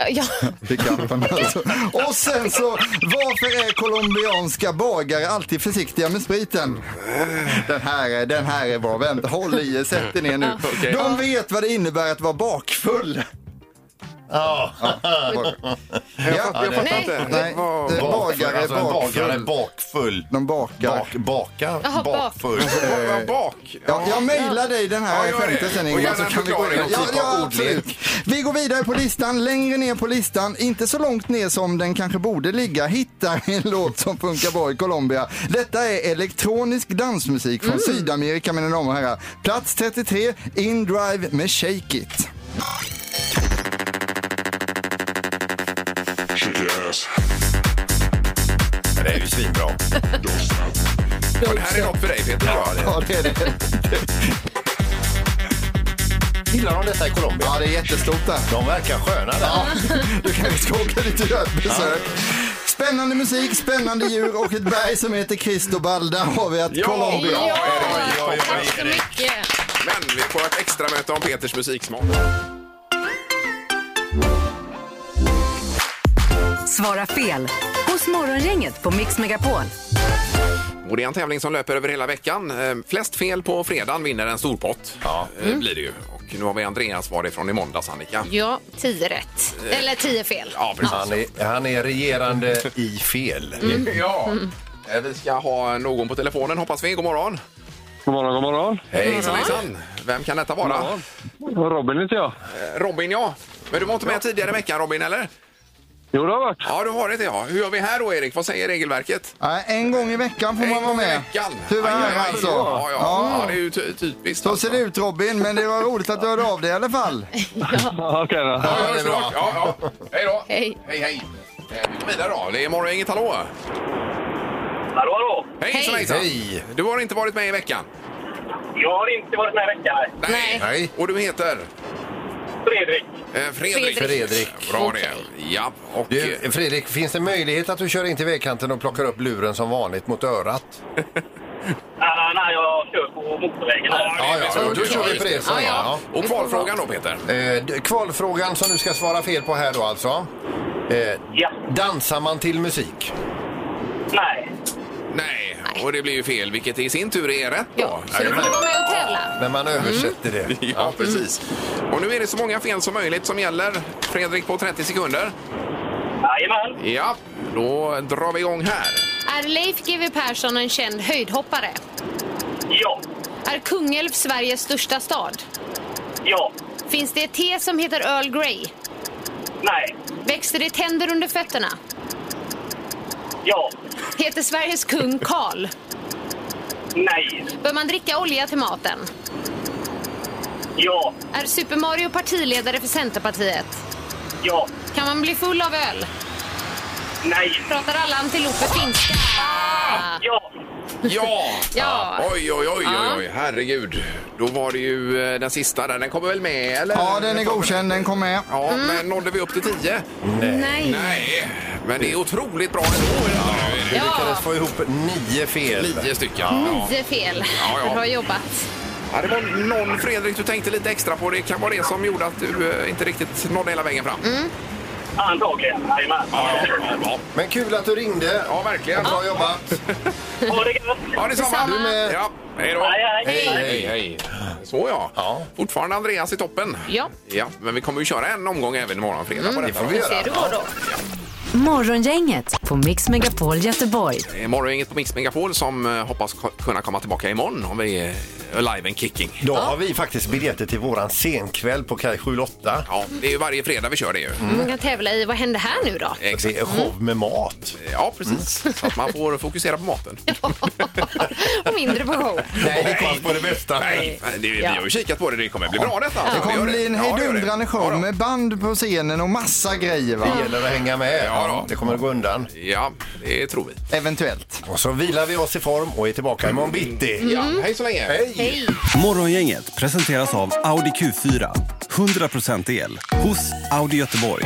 [SPEAKER 5] Ja,
[SPEAKER 3] *laughs*
[SPEAKER 6] Pickupen alltså. Och sen så, varför är colombianska bagare alltid försiktiga med spriten? Den här är, den här är bra. Vänta, håll i er, sätt er ner nu.
[SPEAKER 3] *laughs* Okej.
[SPEAKER 6] De vet vad det innebär att vara bakfull.
[SPEAKER 4] Ja.
[SPEAKER 3] Jag fattar, jag fattar
[SPEAKER 5] Nej.
[SPEAKER 3] inte.
[SPEAKER 6] Nej,
[SPEAKER 3] Vad-
[SPEAKER 6] eh, bagare,
[SPEAKER 4] alltså, en bagare är
[SPEAKER 6] bakfull.
[SPEAKER 4] bakfull.
[SPEAKER 6] De bakar.
[SPEAKER 4] Bak, bakar,
[SPEAKER 5] Jaha, bak.
[SPEAKER 4] bakfull.
[SPEAKER 3] vad- vad Bak.
[SPEAKER 6] Ja, jag mejlar dig den
[SPEAKER 3] Ja,
[SPEAKER 6] här
[SPEAKER 3] gör det.
[SPEAKER 6] skämtet sen
[SPEAKER 3] Och
[SPEAKER 6] Ingmar
[SPEAKER 3] gärna
[SPEAKER 6] så
[SPEAKER 3] en
[SPEAKER 6] kan vi gå
[SPEAKER 3] förklaring
[SPEAKER 6] in.
[SPEAKER 3] och
[SPEAKER 6] Ja,
[SPEAKER 3] typ av
[SPEAKER 6] ja,
[SPEAKER 3] ordlek.
[SPEAKER 6] absolut. Vi går vidare på listan, längre ner på listan, inte så långt ner som den kanske borde ligga, hittar en *laughs* låt som funkar bra i Colombia. Detta är elektronisk dansmusik från
[SPEAKER 3] Mm.
[SPEAKER 6] Sydamerika mina damer och herrar. Plats 33, In Drive med Shake It.
[SPEAKER 4] Det är ju svinbra.
[SPEAKER 3] Och det här är något för dig Peter. Ja, det.
[SPEAKER 6] Ja, det är det.
[SPEAKER 4] Gillar de detta i Colombia?
[SPEAKER 6] Ja, det är jättestort där.
[SPEAKER 4] De verkar sköna där.
[SPEAKER 6] Du kanske ska åka dit och göra ett besök. Spännande musik, spännande djur och ett berg som heter Cristobal. Där har vi att
[SPEAKER 3] Ja,
[SPEAKER 6] Colombia.
[SPEAKER 3] bra.
[SPEAKER 5] ja,
[SPEAKER 3] Ja, ja,
[SPEAKER 5] tack så
[SPEAKER 3] ja, Erik.
[SPEAKER 5] mycket.
[SPEAKER 3] Men vi får ett extra möte om Peters musiksmak.
[SPEAKER 2] Svara fel hos Morgongänget på Mix Megapol.
[SPEAKER 3] Och det är en tävling som löper över hela veckan. Eh, Flest fel på fredagen vinner en stor pott. Ja. blir det ju. Och nu har vi Andreas var det från i måndags, Annika.
[SPEAKER 5] Ja, tio rätt. Eller tio fel.
[SPEAKER 3] Ja, precis.
[SPEAKER 4] Han är, han är regerande i fel.
[SPEAKER 5] Mm.
[SPEAKER 3] Ja. Eh, Vi ska ha någon på telefonen hoppas vi. God morgon.
[SPEAKER 10] God morgon, god morgon.
[SPEAKER 3] Hejsan, hejsan. Vem kan detta vara?
[SPEAKER 10] Robin heter jag.
[SPEAKER 3] Eh, Robin, ja. Men du var inte med tidigare i veckan, Robin, eller?
[SPEAKER 10] Jo, det har varit.
[SPEAKER 3] Ja, du har det, ja. Hur gör vi här då, Erik? Vad säger regelverket?
[SPEAKER 6] Nej, en gång i veckan får
[SPEAKER 3] En
[SPEAKER 6] man vara
[SPEAKER 3] gång i
[SPEAKER 6] med.
[SPEAKER 3] veckan.
[SPEAKER 6] Tyvärr
[SPEAKER 3] Aj, aj, aj.
[SPEAKER 6] alltså.
[SPEAKER 3] Ja, ja.
[SPEAKER 6] Ja.
[SPEAKER 3] ja, det är ju ty- typiskt.
[SPEAKER 6] Så
[SPEAKER 3] alltså.
[SPEAKER 6] ser det ut Robin, men det var roligt att du hörde av dig i alla fall.
[SPEAKER 10] Ja, Okej då.
[SPEAKER 3] Ja, vi hörs snart. Ja, ja. Hej då.
[SPEAKER 5] Hej.
[SPEAKER 3] Hej, hej. Eh, Vi går vidare då. Det är morgon, inget hallå.
[SPEAKER 10] Hallå, hallå.
[SPEAKER 3] Hej, hejsan,
[SPEAKER 5] Hej.
[SPEAKER 3] hejsan.
[SPEAKER 4] Hej.
[SPEAKER 3] Du har inte varit med i veckan?
[SPEAKER 10] Jag har inte varit med i veckan.
[SPEAKER 3] Nej.
[SPEAKER 4] Nej.
[SPEAKER 3] Och du heter?
[SPEAKER 10] Fredrik.
[SPEAKER 3] Eh, Fredrik.
[SPEAKER 4] Fredrik.
[SPEAKER 3] Bra det. Ja, och... eh,
[SPEAKER 4] Du, Fredrik, finns det möjlighet att du kör in till vägkanten och plockar upp luren som vanligt mot örat?
[SPEAKER 10] Ah, nej, jag kör på motorvägen.
[SPEAKER 3] Ja, det är så.
[SPEAKER 4] då kör vi på det. Så, ja.
[SPEAKER 3] Och kvalfrågan då, Peter?
[SPEAKER 4] Eh, d- kvalfrågan som du ska svara fel på här då alltså. Eh,
[SPEAKER 10] Ja.
[SPEAKER 4] dansar man till musik?
[SPEAKER 10] Nej.
[SPEAKER 3] Nej, och det blir ju fel, vilket i sin tur är rätt då.
[SPEAKER 5] Ja, så du får vara med och tävla.
[SPEAKER 4] När man översätter det.
[SPEAKER 3] Ja, precis. Och nu är det så många fel som möjligt som gäller. Fredrik på 30 sekunder.
[SPEAKER 10] Jajamän.
[SPEAKER 3] Ja, då drar vi igång här.
[SPEAKER 5] Är Leif GW Persson en känd höjdhoppare?
[SPEAKER 10] Ja.
[SPEAKER 5] Är Kungälv Sveriges största stad?
[SPEAKER 10] Ja.
[SPEAKER 5] Finns det ett te som heter Earl Grey?
[SPEAKER 10] Nej.
[SPEAKER 5] Växer det tänder under fötterna?
[SPEAKER 10] Ja.
[SPEAKER 5] Heter Sveriges kung Karl?
[SPEAKER 10] Nej.
[SPEAKER 5] Bör man dricka olja till maten?
[SPEAKER 10] Ja.
[SPEAKER 5] Är Super Mario partiledare för Centerpartiet?
[SPEAKER 10] Ja.
[SPEAKER 5] Kan man bli full av öl?
[SPEAKER 10] Nej.
[SPEAKER 5] Pratar alla antiloper finska?
[SPEAKER 1] Ah!
[SPEAKER 10] Ja.
[SPEAKER 3] Ja!
[SPEAKER 5] Ja.
[SPEAKER 3] Oj, oj, oj, oj, oj, herregud. Då var det ju eh, den sista där. Den kommer väl med, eller?
[SPEAKER 6] Ja, den är godkänd, den kom med.
[SPEAKER 3] Ja, men nådde vi upp till 10?
[SPEAKER 5] Nej.
[SPEAKER 3] Nej, men det är otroligt bra ändå.
[SPEAKER 4] Du
[SPEAKER 5] Ja.
[SPEAKER 4] lyckades få ihop nio fel.
[SPEAKER 3] Nio stycken. Ja.
[SPEAKER 5] Det är fel.
[SPEAKER 3] Ja, ja.
[SPEAKER 5] Bra jobbat.
[SPEAKER 3] Ja, det var någon, Fredrik, du tänkte lite extra på. Det kan vara det som gjorde att du eh, inte riktigt nådde hela vägen fram.
[SPEAKER 10] Antagligen. Jajamän.
[SPEAKER 3] Ja, ja, ja, ja.
[SPEAKER 4] Men kul att du ringde.
[SPEAKER 3] ja, verkligen.
[SPEAKER 4] Bra jobbat.
[SPEAKER 10] Ha det gött.
[SPEAKER 3] Ja, detsamma.
[SPEAKER 5] Detsamma. Du med.
[SPEAKER 3] Ja, hej då.
[SPEAKER 10] Hej, hej.
[SPEAKER 3] hej, hej. Så ja.
[SPEAKER 4] Ja.
[SPEAKER 3] Fortfarande Andreas i toppen.
[SPEAKER 5] Ja.
[SPEAKER 3] Ja, men vi kommer ju köra en omgång även imorgon fredag på detta.
[SPEAKER 4] får vi
[SPEAKER 5] Ser
[SPEAKER 4] göra.
[SPEAKER 5] du går då?
[SPEAKER 2] Morgongänget på Mix Megapol Göteborg.
[SPEAKER 3] Imorgon är inget Eh, på Mix Megapol som eh, hoppas ko- kunna komma tillbaka imorgon om vi är live and kicking.
[SPEAKER 4] Då har vi faktiskt biljetter till våran scenkväll på Kaj 78.
[SPEAKER 3] Ja, det är ju varje fredag vi kör det ju.
[SPEAKER 6] Mm.
[SPEAKER 5] Man kan tävla i vad händer här nu då?
[SPEAKER 3] Exakt.
[SPEAKER 4] Det är eh, show med mat.
[SPEAKER 3] Ja, precis.
[SPEAKER 6] Mm.
[SPEAKER 3] Så att man får fokusera på
[SPEAKER 6] *laughs*
[SPEAKER 3] maten.
[SPEAKER 5] Och mindre på show.
[SPEAKER 4] Nej, hoppas på det bästa.
[SPEAKER 3] Nej, men det, vi
[SPEAKER 5] Ja.
[SPEAKER 3] har ju kikat på det. Det kommer bli bra detta.
[SPEAKER 6] Det
[SPEAKER 3] alltså.
[SPEAKER 6] kommer
[SPEAKER 3] gör
[SPEAKER 6] bli en
[SPEAKER 3] Ja, det gör det.
[SPEAKER 6] hejdundrande
[SPEAKER 3] Ja,
[SPEAKER 6] show
[SPEAKER 3] då.
[SPEAKER 6] med band på scenen och massa grejer va?
[SPEAKER 4] Det gäller att hänga med.
[SPEAKER 3] Ja, då.
[SPEAKER 4] det kommer att gå undan.
[SPEAKER 3] Ja, det tror vi.
[SPEAKER 6] Eventuellt.
[SPEAKER 4] Och så vilar vi oss i form och är tillbaka imorgon bitti.
[SPEAKER 3] Ja, hej så länge.
[SPEAKER 4] Mm. Hej!
[SPEAKER 7] Morgongänget presenteras av Audi Q4. 100% el hos Audi Göteborg.